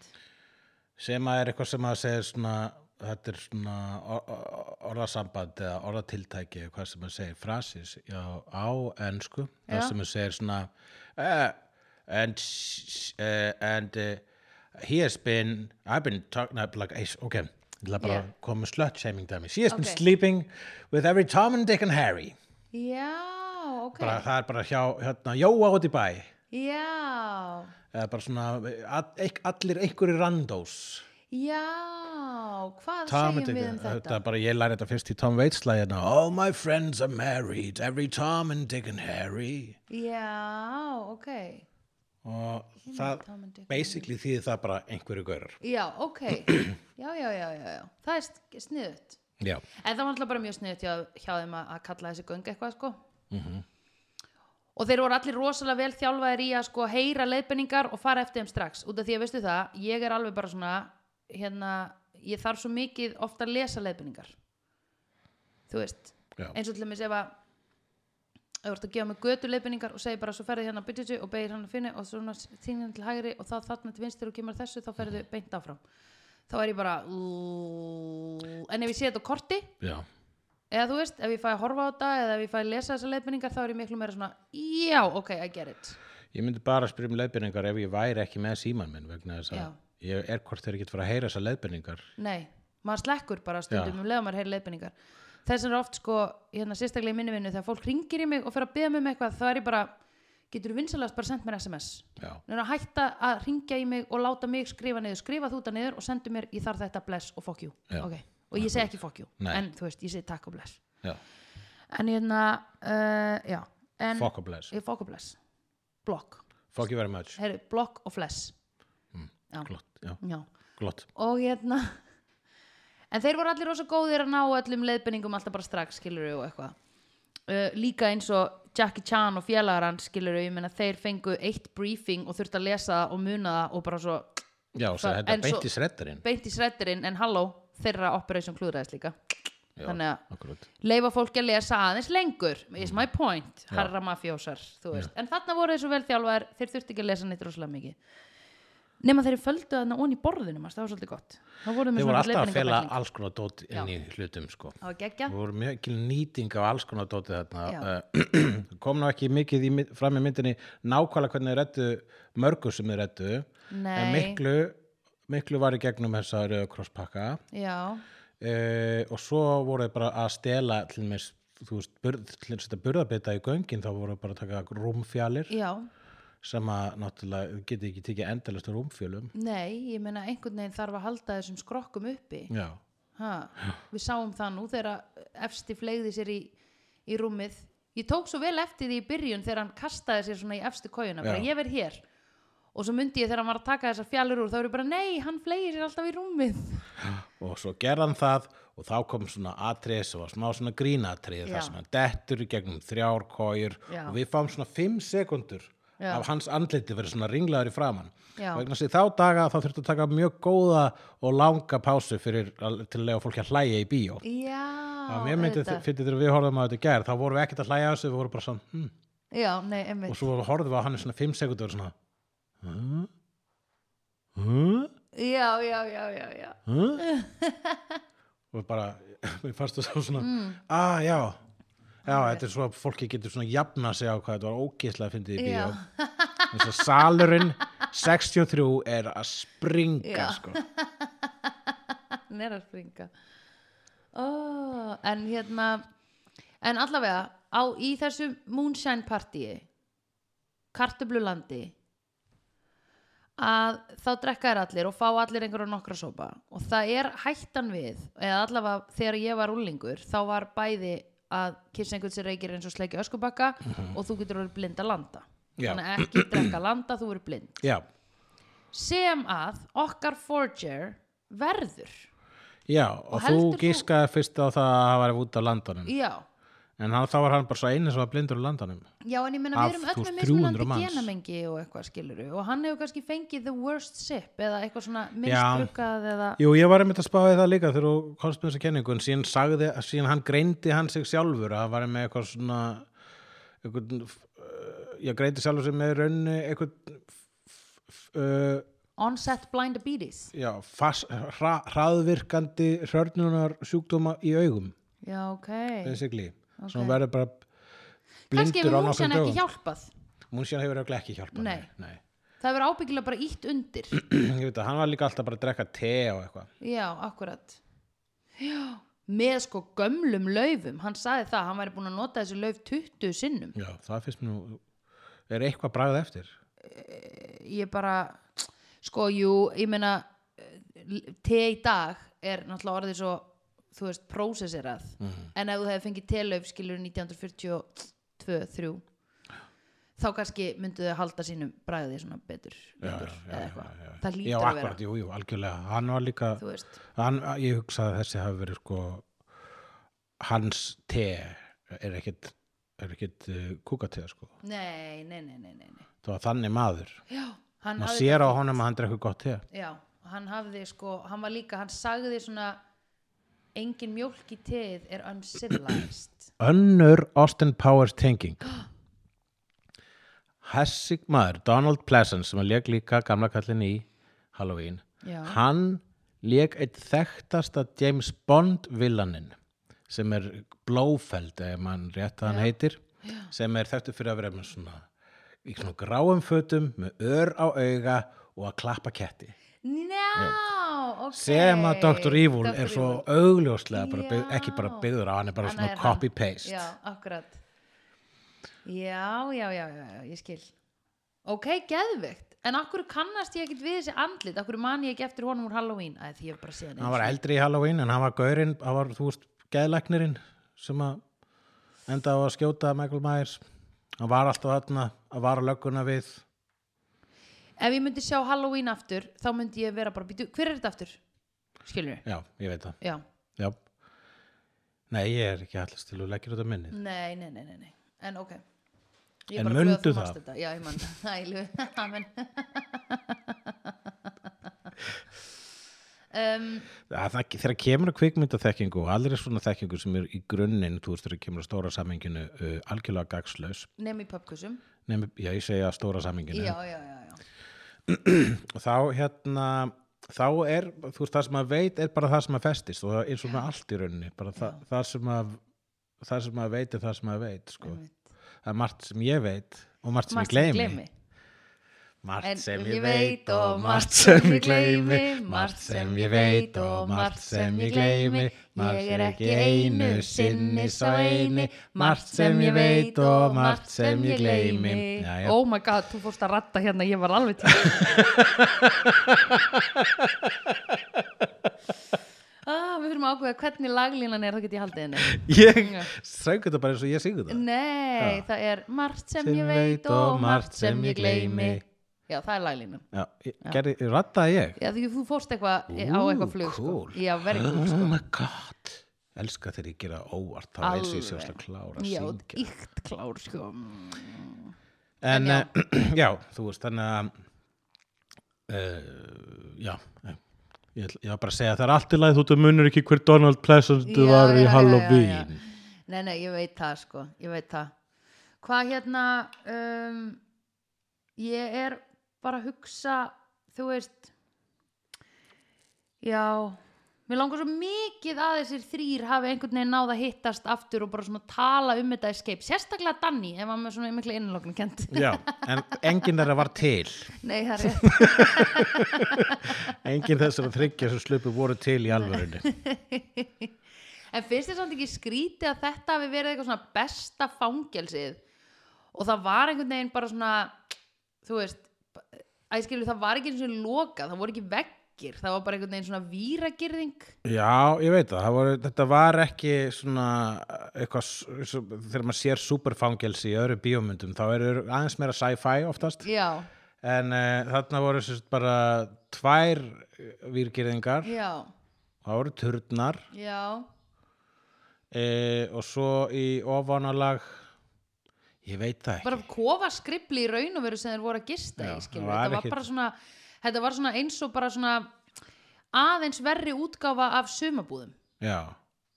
S2: sem að er eitthvað sem að segja svona þetta er svona or- or- orðasamband eða orðatiltæki eða hvað sem að segja frasis já, á ensku það
S1: Já.
S2: sem að segja svona uh, and sh- uh, and uh, he has been I've been talking up like eh, ok, ég ætla bara
S1: Yeah.
S2: að koma með slut shaming dæmi she has been
S1: Ok.
S2: sleeping with every Tom and Dick and Harry
S1: já, ok,
S2: bara, það er bara hjá hérna, Jóa út í bæ
S1: já
S2: eða bara svona eh, all, eik- allir einhverju randós
S1: já, hvað
S2: Tom
S1: segjum við um
S2: þetta?
S1: þetta?
S2: bara ég læri þetta fyrst í Tom Waits lægina All my friends are married Every Tom and Dick and Harry
S1: já, ok
S2: og það
S1: Tom and Dick.
S2: basically því það bara einhverju gaurar
S1: Já, ok. já, já, já, já, já. Það er st- sniðut.
S2: Já,
S1: En það var alltaf bara mjög sniðut hjá, hjá þeim að, að kalla þessi göng eitthvað, sko. Og þeir voru allir rosalega vel þjálfaðir í að sko heyra leiðbenningar og fara eftir þeim strax. Út af því að veistu það, ég er alveg bara svona, hérna, ég þarf svo mikið ofta að lesa leiðbenningar. Þú veist,
S2: já,
S1: eins og til dæmis ef að ef þú ert að gefa mig götu leiðbendingar og segir bara svo ferði hérna að byrja og beigir hann að finna og svona þingin til hægri og þá þarna til vinstri og kemur að þessu þá ferðu beint áfram þá er ég bara "Ú-ú-ú-ú." en ef ég sé þetta á korti
S2: já,
S1: eða þú veist, ef ég fæ að horfa á þetta eða ef ég fæ að lesa þessar leiðbendingar þá er ég miklu meira svona já, ok, I get it
S2: Ég myndi bara að spyrja um leiðbendingar ef ég væri ekki með síman minn vegna þess að
S1: Já.
S2: ég er hvort þeir ekki fara að heyra þessar leiðbendingar
S1: Nei, maður slekkur bara stundum
S2: Já.
S1: um leiða maður heyri leiðbendingar þess vegna er oft sko, hérna sérstaklega í minni vinnu þegar fólk ringir í mig og fer að beða mig um eitthvað þá er ég bara, getur þú vinsalast bara sendt mér SMS
S2: Já,
S1: Nú er að hætta að ringja í mig og láta mig skrifa niður, skrifa þú þetta niður og sendu mér, ég þarf þetta bless og fuck you
S2: Já.
S1: okay. og ég segi ekki fuck you,
S2: Nei.
S1: en þú veist, ég segi takk og bless
S2: já,
S1: en hérna, uh, já en,
S2: fuck a bless
S1: Ég, fuck og bless blokk,
S2: Fuck you very much,
S1: heyrðu, blokk og fless Já.
S2: glott Já,
S1: já,
S2: glott
S1: og hérna en þeir voru allir rosa góðir að ná öllum leiðbenningum alltaf bara strax skilur og eitthvað uh, líka eins og Jackie Chan og félagar hans skilur ég meina þeir fengu eitt briefing og þurftu að lesa það og muna það og bara svo
S2: Já, svo
S1: Það-
S2: þetta
S1: en svo-
S2: beint í sreddarinn
S1: beint í srættirinn en halló þeirra operation klúðræðis líka
S2: Já,
S1: þannig að
S2: akkurat
S1: leifa fólki að lesa aðeins lengur is my point, harra mafjósar þú veist, en þarna voru þeir svo vel þjálfaðir þeir þurftu ekki að lesa neitt rosalega mikið nema þeir földu þarna onni í borðinu manstu, það var svolítið gott það voru
S2: Þeir
S1: með
S2: voru
S1: svona
S2: alltaf að fela
S1: leiðbeiningabækling.
S2: alls konar dót inn í hlutum sko
S1: það var geggja
S2: Það voru mikil nýting á alls konar dótið
S1: Já.
S2: þarna Eh, kom nú ekki mikið í, mynd- fram í myndinni nákvæmlega hvernig þau rettu mörgu sem þau rettu en
S1: Nei.
S2: miklu, miklu var í gegnum þessa rauða krosspakka
S1: já,
S2: uh, og svo voru þau bara að stela til mér þú veist, burð, til þess að burðabita í göngin þá voru þau bara að taka rúmfjalir
S1: já,
S2: sem að náttúrulega þau geti ekki tekið endalastu rúmfjölum
S1: nei ég meina einhvern veginn þarf að halda þessum skrokkum uppi
S2: Já,
S1: ha, við sáum það nú þegar efsti fleigði sér í, í rúmið ég tók svo vel eftir því í byrjun þegar hann kastaði sér svona í efstu kójuna bara
S2: Já.
S1: ég verð hér og svo myndi ég þegar hann var að taka þessar fjallur úr þá eru bara nei, hann fleigir sér alltaf í rúmið
S2: og svo gerði hann það og þá kom svona atrið sem var smá svona grínatrið
S1: Já.
S2: það sem hann dettur í gegnum þrjár kóir
S1: Já.
S2: og við fáum svona fimm sekundur
S1: Já.
S2: af hans andliti verið svona ringlaður í framann
S1: Já.
S2: vegna sig þá daga þá þurftu að taka mjög góða og langa pásu fyrir, að- til að lega fólki að hlæja í bíó
S1: já,
S2: að mér myndi
S1: auðvitað.
S2: fyrir þegar við horfum að þetta í gær þá vorum við ekkert að hlæja að þessu, við vorum bara svona hm.
S1: Já, nei,
S2: og
S1: einmitt
S2: svo horfum við á hann í svona 5 sekundur svona huh? Huh?
S1: Já, já, já, já, já
S2: Huh? og bara mér fannst það svo svona ah, já, já, þetta er svo að fólki getur svona jafna sig á hvað þetta var ógeðslega fyndið í
S1: Já.
S2: bíó þess að salurinn 63 er að springa
S1: Já.
S2: sko.
S1: Hann er að springa Ó, En hérna En allavega á, Í þessu moonshine partíi Kartublulandi að þá drekka þær allir og fá allir einhverja nokkra sopa og það er hættan við eða allavega þegar ég var úlingur þá var bæði að kissa einhvern sem reykir eins og sleiki öskubakka og þú getur verið blind að landa
S2: Já.
S1: þannig að ekki drekka landa, þú verið blind
S2: já,
S1: sem að okkar forger verður
S2: já og,
S1: Og
S2: þú
S1: heldur þú-
S2: gískaði fyrst á það að það var út á landanum
S1: já,
S2: en hann, þá var hann bara svo einu sem var blindur á landanum
S1: já en ég meina
S2: Af,
S1: við erum
S2: þú veist,
S1: öll með
S2: 300
S1: mismunandi
S2: manns.
S1: genamengi og eitthvað skiluru og hann hefur kannski fengið the worst sip eða eitthvað svona
S2: Já.
S1: minnst brukkað eða
S2: Jú, ég var einmitt að spáði það líka þegar þú komst með þessa kenningu en síðan, sagði, síðan hann greindi hann sig sjálfur að hann var með eitthvað svona eitthvað, ég greindi sjálfur sig með raunni eitthvað f- f- uh,
S1: onset blind diabetes
S2: já, fas, hra, hraðvirkandi hrörnunar sjúkdóma í augum
S1: já ok,
S2: basically, svona verður bara
S1: kannski hefur
S2: blindur á
S1: hún
S2: nokkrum
S1: sérna ekki
S2: dögum
S1: hjálpað
S2: hún síðan hefur örugglega ekki hjálpað
S1: Nei.
S2: Nei.
S1: það hefur ábyggilega bara ítt undir
S2: ég veit að hann var líka alltaf bara að drekka te og eitthvað
S1: já, akkurat já, með sko gömlum laufum hann sagði það, hann væri búin að nota þessi lauf 20 sinnum
S2: já, það finnst mér nú er eitthvað bragð eftir
S1: ég bara sko, jú, ég meina eh, te í dag er náttúrulega orðið svo, þú veist, prósesserað
S2: Mhm.
S1: en ef þú hefði fengið telauf skilur 1942-3 þá kannski myndu þau halda sínum bræði svona betur lengur, eða eitthvað, það
S2: já,
S1: lítur að vera
S2: akkurat, jú, jú, algjörlega hann var líka,
S1: þú veist,
S2: hann, ég hugsaði að þessi hafi verið sko hans te er ekkit, er ekkit uh, kúkateð sko,
S1: nei, nei, nei, nei, nei, nei.
S2: það var þannig maður
S1: já, hann
S2: maður
S1: hafði
S2: sér á honum að hann drekkur gott te
S1: Já, hann hafði sko, hann var líka, hann sagði svona engin mjólk í teið er uncivilized.
S2: önnur Austin Powers tenging Hessig maður, Donald Pleasant sem að leik líka gamla kallin í Halloween
S1: Já.
S2: hann leik eitt þekktasta James Bond villaninn sem er Blofeld ef mann rétt að hann heitir sem er þekktu fyrir að vera með svona í svona gráum fötum með ör á auga og að klappa ketti
S1: Njá, ok.
S2: sem að Dr. Evil er svo augljóslega bara byggð,
S1: Já.
S2: ekki bara byggður á hann er bara
S1: Hann er
S2: svona
S1: hann.
S2: copy-paste
S1: Já, akkurat. Já, já, já, já, já, ég skil. Ok, geðveikt. En akkur kannast ég ekkit við þessi andlit? Akkur man ég ekki eftir honum úr Halloween? Æ, því ég hef bara séð hann.
S2: hann var eldri í Halloween en hann var gaurinn, hann var þú veist geðlæknirinn sem að enda á að skjóta Michael Myers hann var alltaf þarna að vara lögguna við
S1: Ef ég myndi sjá Halloween aftur, þá myndi ég vera bara býtu. Hver er þetta aftur? Skilur
S2: já, ég veit það,
S1: Já.
S2: já nei, ég er ekki allast til að leggja þetta minnið
S1: Nei, nei, nei, nei, nei. En ok. Ég
S2: En
S1: er bara glöð að
S2: mundu
S1: þú manst
S2: það?
S1: þetta. Já, ég mann. Ælu, amen. um,
S2: það, það, þegar kemur að kvikmyndaþekkingu og allir svona þekkingu sem er í grunninn þú veist þegar kemur að stóra saminginu uh, algjörlega gagslaus
S1: Nefn í pöpkusum.
S2: Nefn, já, ég segja stóra saminginu
S1: Já, já, já, já.
S2: og þá hérna þá er, þú veist, það sem að veit er bara það sem að festist og það er eins og með allt í rauninni bara það, það sem að það sem að veit er það sem að veit sko.
S1: Einmitt.
S2: það er margt sem ég veit og margt sem
S1: Margt
S2: ég gleymi margt sem ég
S1: En sem ég veit
S2: veit
S1: og
S2: og
S1: margt
S2: margt sem
S1: sem
S2: ég
S1: ég
S2: gleymi
S1: gleymi,
S2: margt sem ég veit og margt sem ég gleymi margt
S1: Ég er
S2: sem
S1: ekki
S2: ekki einu sinni sá eini margt sem ég veit og margt sem ég gleymi já, já,
S1: Oh my god, þú fórst að ratta hérna, ég var alveg til ah, Við fyrir að ákveða hvernig laglínan er, þá get ég haldið henni
S2: ég söngu þetta bara eins og ég syngu þetta
S1: Nei,
S2: Já.
S1: það er margt sem ég veit og margt sem ég gleymi Já, það er laglínan
S2: já, ég, gerði, rattaði ég
S1: Já, því þú fórst eitthvað á
S2: Ú,
S1: eitthvað flug sko.
S2: cool.
S1: Já, verið cool sko.
S2: Oh my god Elska þegar ég gera óvart þá er eins og ég sé að klára að
S1: Já,
S2: syngja
S1: íkt klár sko
S2: En
S1: já.
S2: eh, já, þú veist þannig að uh, já, eh, Ég, ætl- ég var bara að segja það er allt í lagi þú munir ekki hver Donald Pleasant
S1: Já,
S2: var í
S1: já, já,
S2: Halloween
S1: já, já. Nei, nei, ég veit það sko, ég veit það. Hvað hérna, um, ég er bara að hugsa, þú veist, já, mér langar svo mikið að þessir þrýr hafi einhvern veginn náð að hittast aftur og bara svona tala um þetta í skeip, sérstaklega Danny, ef hann með svona mikla innlokna kent.
S2: Já, en enginn þeirra var til
S1: nei, það er rétt,
S2: enginn þessara þryggja sem slupu voru til í alvörunni
S1: en finnst þér samt ekki skrítið að þetta hafi verið eitthvað svona besta fangelsið og það var einhvern veginn bara svona þú veist að ég skilur það var ekki eins og lokað það voru ekki veggir, það var bara einhvern veginn svona výragirðing
S2: Já, ég veit það, það voru, þetta var ekki svona eh, eitthvað, s- s- þegar maður sér superfangelsi í öðru bíómyndum þá eru aðeins meira sci-fi oftast
S1: já,
S2: en uh, þarna voru sérst bara tvær eh, výrgerðingar
S1: já,
S2: það voru turnar
S1: já
S2: e, og svo í ofanalag ég veit það ekki
S1: bara kofa skrifli í raun og veru sem þeir voru að gista
S2: Já,
S1: í skilur,
S2: það var
S1: þetta var
S2: ekkit-
S1: bara svona þetta var svona eins og bara svona aðeins verri útgáfa af sumabúðum,
S2: Já,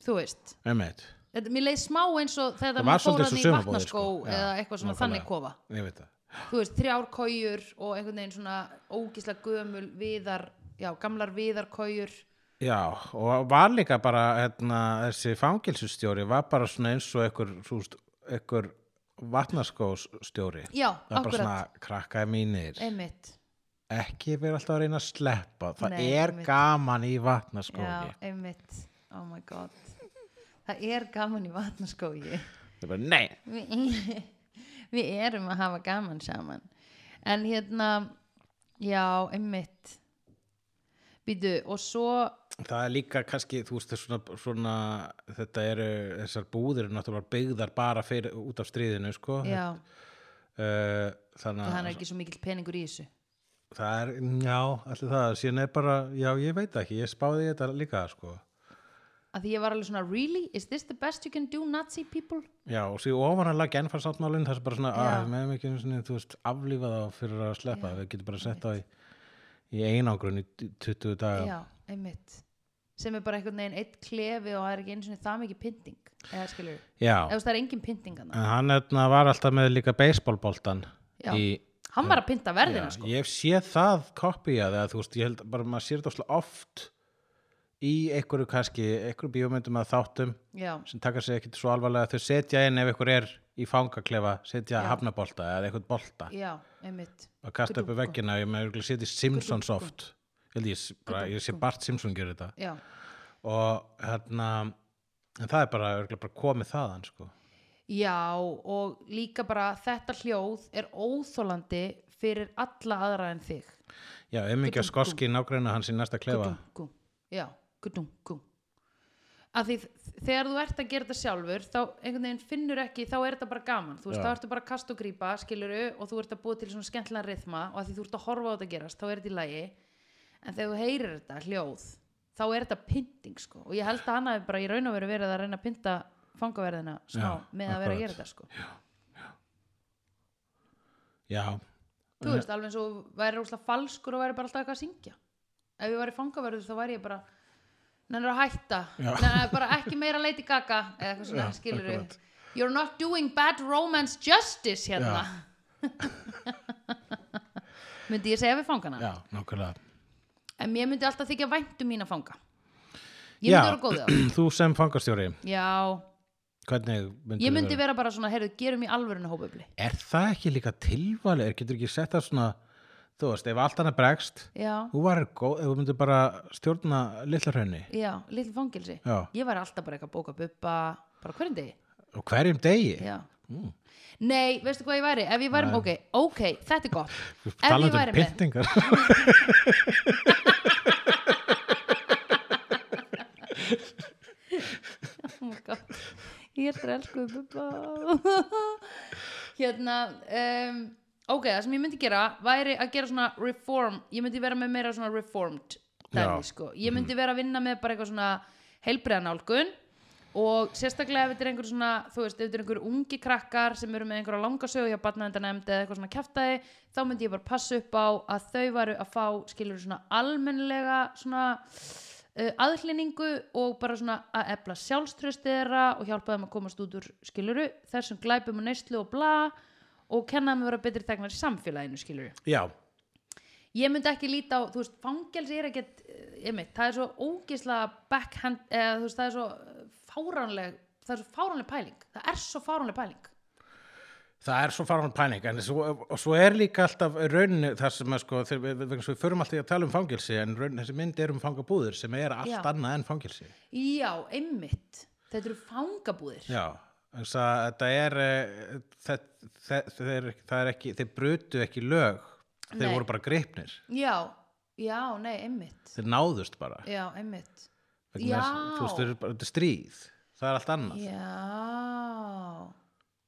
S1: þú veist
S2: emeit,
S1: þetta, mér leið smá eins og þegar
S2: Það
S1: það
S2: var
S1: maður
S2: svolítið
S1: fór hann
S2: eins og
S1: í
S2: sumarbúðir,
S1: vatnaskó
S2: sko. Já,
S1: eða eitthvað svona þannig
S2: nákvæmlega.
S1: kofa
S2: ég veit það
S1: þú veist, þrjár kójur og einhvern veginn svona ógísla gömul viðar, já, gamlar viðarkójur
S2: Já, og var líka bara hérna, þessi fangilsustjóri var bara svona eins og einhver, þú veist, einhver vatnaskósstjóri
S1: já,
S2: það er bara
S1: akkurat,
S2: svona krakkaði mínir
S1: einmitt
S2: ekki verið alltaf að reyna að sleppa það
S1: Nei,
S2: er
S1: einmitt.
S2: gaman í vatnaskói
S1: já, einmitt, oh my god það er gaman í vatnaskói
S2: það er bara nei
S1: við, við erum að hafa gaman saman en hérna já, einmitt býtu, og svo
S2: það er líka kannski, þú veist, það er svona, svona þetta eru, þessar búðir eru náttúrulega byggðar bara fyrir, út af stríðinu sko.
S1: já,
S2: uh, þannig að
S1: þannig er ekki svo mikill peningur í þessu
S2: það er, já, allir það síðan er bara, já, ég veit ekki, ég spáði í þetta líka, sko
S1: að því ég var alveg svona, really, is this the best you can do Nazi people?
S2: Já, og síðan ofanarlega genfarsáttmálinn, það er bara svona,
S1: Já.
S2: að við meðum ekki einu sinni, þú veist, aflífa þá fyrir að sleppa, við getum bara sett það í, í einangrun í 20 daga.
S1: já, einmitt sem er bara einhvern veginn eitt klefi og það er ekki eins og það mikið pynting eða skilur,
S2: Já,
S1: eða það er engin pynting hann
S2: en hann etna, var alltaf með líka beisbólboltan
S1: Já.
S2: í...
S1: hann var að pynta verðina
S2: Já,
S1: sko
S2: Ég hef séð það kopíað eða þú veist, ég held bara maður sér þetta óslega oft í einhverju kannski, einhverju bíómyndum að þáttum
S1: já,
S2: sem taka sig ekkit svo alvarlega þau setja inn ef einhver er í fangaklefa, setja
S1: Já.
S2: hafnabolta eða einhvern bolta
S1: já, einmitt
S2: að kasta upp í veggina ég með örgulega setið Simpsons oft ég held ég, s- bara, ég sé Bart Simpson gera þetta
S1: já,
S2: og hérna en það er bara örgulega bara komið þaðan sko.
S1: já og líka bara þetta hljóð er óþólandi fyrir alla aðra en þig
S2: já, ef ekki að
S1: Gudum,
S2: skoski nágræna hans í næsta klefa
S1: Gudungu. já, gudungu að því þegar þú ert að gera þetta sjálfur þá einhvern veginn finnur ekki þá er þetta bara gaman, þú veist,
S2: Já.
S1: þá ertu bara að kasta og grípa skiluru og þú ert að búa til svona skemmtilega rithma og að því þú ert að horfa á þetta gerast þá er þetta í lagi, en þegar þú heyrir þetta hljóð, þá er þetta pynting sko, og ég held að hann hafi bara í raun og veru verið að reyna að pynta fangaverðina
S2: Já,
S1: smá með að vera
S2: akkurat.
S1: að gera þetta sko
S2: já,
S1: þú
S2: Mhm.
S1: veist, alveg eins og væri rúslega falskur og væri bara alltaf eitthvað að syngja ef ég væri fangaverður þá væri ég bara nennir að hætta nennir bara ekki meira Lady Gaga eða eitthvað svona
S2: Já,
S1: skilur
S2: akkurat.
S1: you're not doing bad romance justice hérna myndi ég segja við fangana
S2: já, nákvæmlega
S1: en mér myndi alltaf þykja væntu mín að fanga ég myndi vera góð á
S2: já, þú sem fangastjóri
S1: það. já,
S2: hvernig myndir
S1: ég myndi vera bara svona heyrðu, gerum í alvörinu hópefli
S2: er það ekki líka tilvalið, er getur ekki sett það svona þú veist, ef allt annað bregst
S1: já,
S2: þú var góð, ef þú myndir bara stjórna litla hraunni
S1: já, litlu fangilsi
S2: já,
S1: ég væri alltaf bara eitthvað að bóka bubba bara hverjum degi
S2: og hverjum degi
S1: Já. Nei, veistu hvað ég væri? Ef ég væri, ok, ok, þetta er gott Ef ég
S2: talandi
S1: væri
S2: um
S1: með-
S2: pyntingar
S1: oh my god ég er það elskuð bubba hérna um, ok, það sem ég myndi gera væri að gera svona reform ég myndi vera með meira svona reformed dæmi,
S2: Já.
S1: sko. ég myndi vera að vinna með bara eitthvað svona heilbreiðanálgun og sérstaklega ef þetta er einhver svona þú veist, ef þetta er einhver ungi krakkar sem eru með einhverja langasögu hjá barnavendarnefnd eða eitthvað svona kjaftaði, þá myndi ég bara passa upp á að þau varu að fá skilur svona almennlega svona uh, aðhlýningu og bara svona að efla sjálfströsti þeirra og hjálpa þeim að komast út úr skiluru þessum glæpum og neyslu og bla og kenna þeim að vera betri þegnar í samfélaginu skiluru
S2: já,
S1: ég myndi ekki líta á, þú veist, fangelsi er ekkert, eh, einmitt, það er svo ógislega backhand, eða þú veist, það er svo eh, fáránleg, það er svo fáránleg pæling það er svo fáránleg pæling
S2: það er svo faran pæling en svo, og svo er líka alltaf rauninu þar sem að sko, þegar við, við, við, við förum alltaf í að tala um fangelsi en raun, þessi mynd er um fangabúður sem er allt
S1: Já.
S2: annað en fangelsi
S1: já, einmitt, þetta eru fangabúðir
S2: já, þess að þetta er eh, það, það, það, er, það er ekki þeir brutu ekki lög þeir
S1: Nei.
S2: voru bara gripnir
S1: já, já, nei, einmitt
S2: þeir náðust bara
S1: já, einmitt,
S2: Vegna þess-
S1: Já.
S2: þú veist, þeir eru bara þetta er stríð það er allt annað
S1: já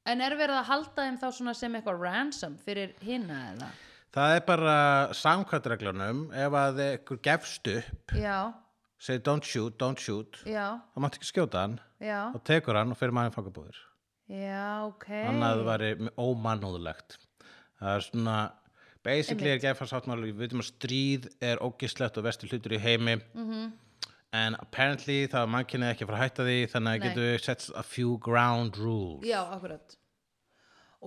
S1: en er verið að halda þeim þá svona sem eitthvað ransom fyrir hinna eða
S2: það er bara samkvæmt reglunum ef að ykkur gefst upp
S1: já,
S2: segir don't shoot, don't shoot
S1: já,
S2: þá mátt ekki skjóta hann
S1: já
S2: og tekur hann og fyrir maður fangabúður
S1: já, ok
S2: annað væri ómannúðulegt það er svona basically er gefasáttmáli, við veitum að stríð er ógislegt og vestu hlutur í heimi en apparently það er mannkynið ekki að fara að hætta því þannig að
S1: Nei.
S2: getur við sett a few ground rules
S1: Já, akkurat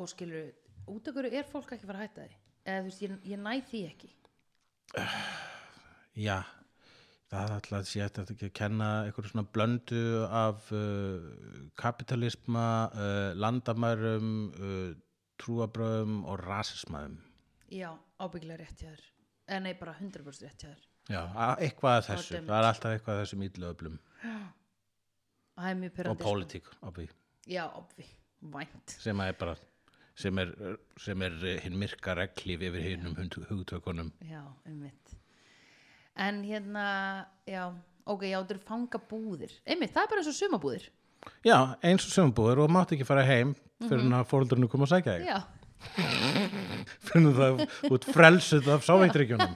S1: Og skilur, út af hverju er fólk ekki að fara að hætta því eða þú veist, ég, ég næ því ekki
S2: Já, það er alltaf að sé þetta ekki að kenna einhverju svona blöndu af uh, kapitalisma, uh, landamærum, uh, trúabröðum og rasismæðum.
S1: Já, ábyggilega rétt hjá þér eða Eh, nei, bara 100% rétt hjá þér
S2: Já, a- eitthvað af þessu.
S1: Fordæmi.
S2: Það er alltaf eitthvað af þessum ídlöflum
S1: og það er mjög
S2: og
S1: pyrrandi
S2: pólitík, obvi,
S1: Já, obvi, vænt
S2: sem er bara sem er, sem er eh, hinn myrka reglíf yfir hinnum hugtökunum.
S1: Já, einmitt En hérna, já Ok, já, þetta eru fangabúðir Einmitt, það er bara eins og sumabúðir
S2: Já, eins og sömbúður og mátt ekki fara heim fyrir
S1: Mhm.
S2: mm -hmm. að fóruldurinn kom að sækja þig.
S1: Já,
S2: Fyrir en það út frelsuð af sáveitryggjónum.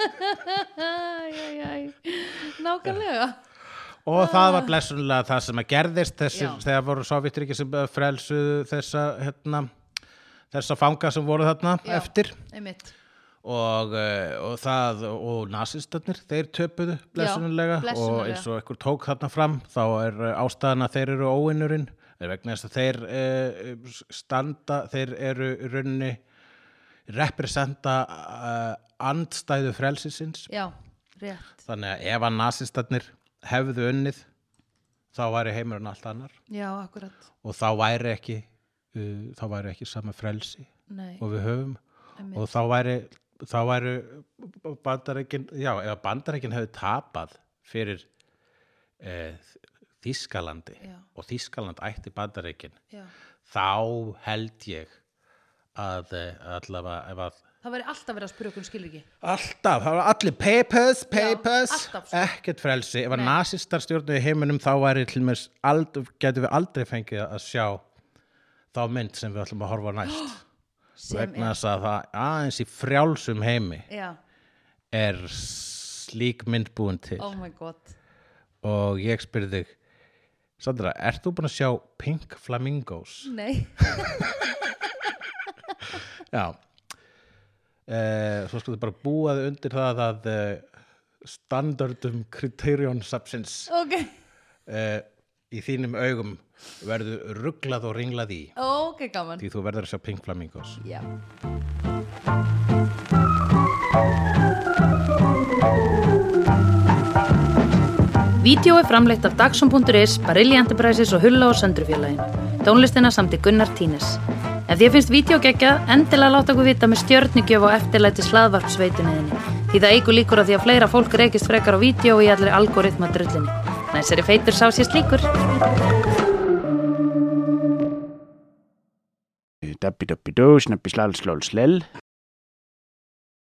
S1: æj, æj, æj Nákvæmlega
S2: Og það var blessunlega það sem að gerðist þessir,
S1: Ah. Já.
S2: þegar voru sovjetriki sem frelsuðu þessa, hérna, þessa fanga sem voru þarna
S1: Já.
S2: eftir
S1: Einmitt
S2: og, eh, og það og nasistarnir, þeir töpuðu blessunlega
S1: blessunarlega.
S2: og eins og einhver tók þarna fram þá er eh, ástæðan að þeir eru óinnurinn er vegna þess að þeir eh, standa, þeir eru í rauninni representa eh, andstæðu frelsisins
S1: Já, rétt
S2: Þannig að ef að nasistarnir hefðu unnið þá væri heimurinn allt annar
S1: Já, akkurat
S2: og þá væri ekki uh, þá væri ekki sama frelsi
S1: Nei,
S2: og við höfum
S1: Einmitt.
S2: og þá væri þá væri bandarækin já, ef bandarækin hefðu tapað fyrir uh, Þískalandi
S1: Já.
S2: og Þískaland ætti bandarækin
S1: já
S2: þá held ég að eh, allavega ef að
S1: Það væri alltaf verið að spyrja okkur um skilur ekki
S2: Alltaf, það var allir papers, papers,
S1: alltaf, sko.
S2: ekkert frelsi. Ef að
S1: Nei.
S2: nasistar stjórnu í heiminum þá væri til mér, getum við aldrei fengið að sjá þá mynd sem við ætlum að horfa á næst.
S1: sem
S2: Vegna þess að það aðeins í frjálsum heimi
S1: er já,
S2: er slík mynd búin til.
S1: oh my god
S2: Og ég spyrði þig, Sandra, ert þú búin að sjá Pink Flamingos?
S1: nei,
S2: Já uh, Svo sko þið bara búaði undir það að uh, standardum kriterion sapsins
S1: ok
S2: uh, í þínum augum verður rugglað og ringlað í
S1: ok, gaman
S2: því þú verður að sjá Pink Flamingos
S1: já,
S3: Vídeó er framleitt af Dagsum.is, Barilli Enterprises og Hulla og Söndrufjörlægin. Tónlistina samt í Gunnar Tínes. Ef þér finnst vídeo geggja, endilega láta okkur vita með stjörnigjöf og eftirlæti slaðvarpsveitunniðinni. Því það eigur líkur að því að fleira fólk reykist frekar á vídeo og í allir algoritma drullinni. Næsari feitur sá sér slíkur.
S4: Dabbi dabbi dó, snabbi slal slól slell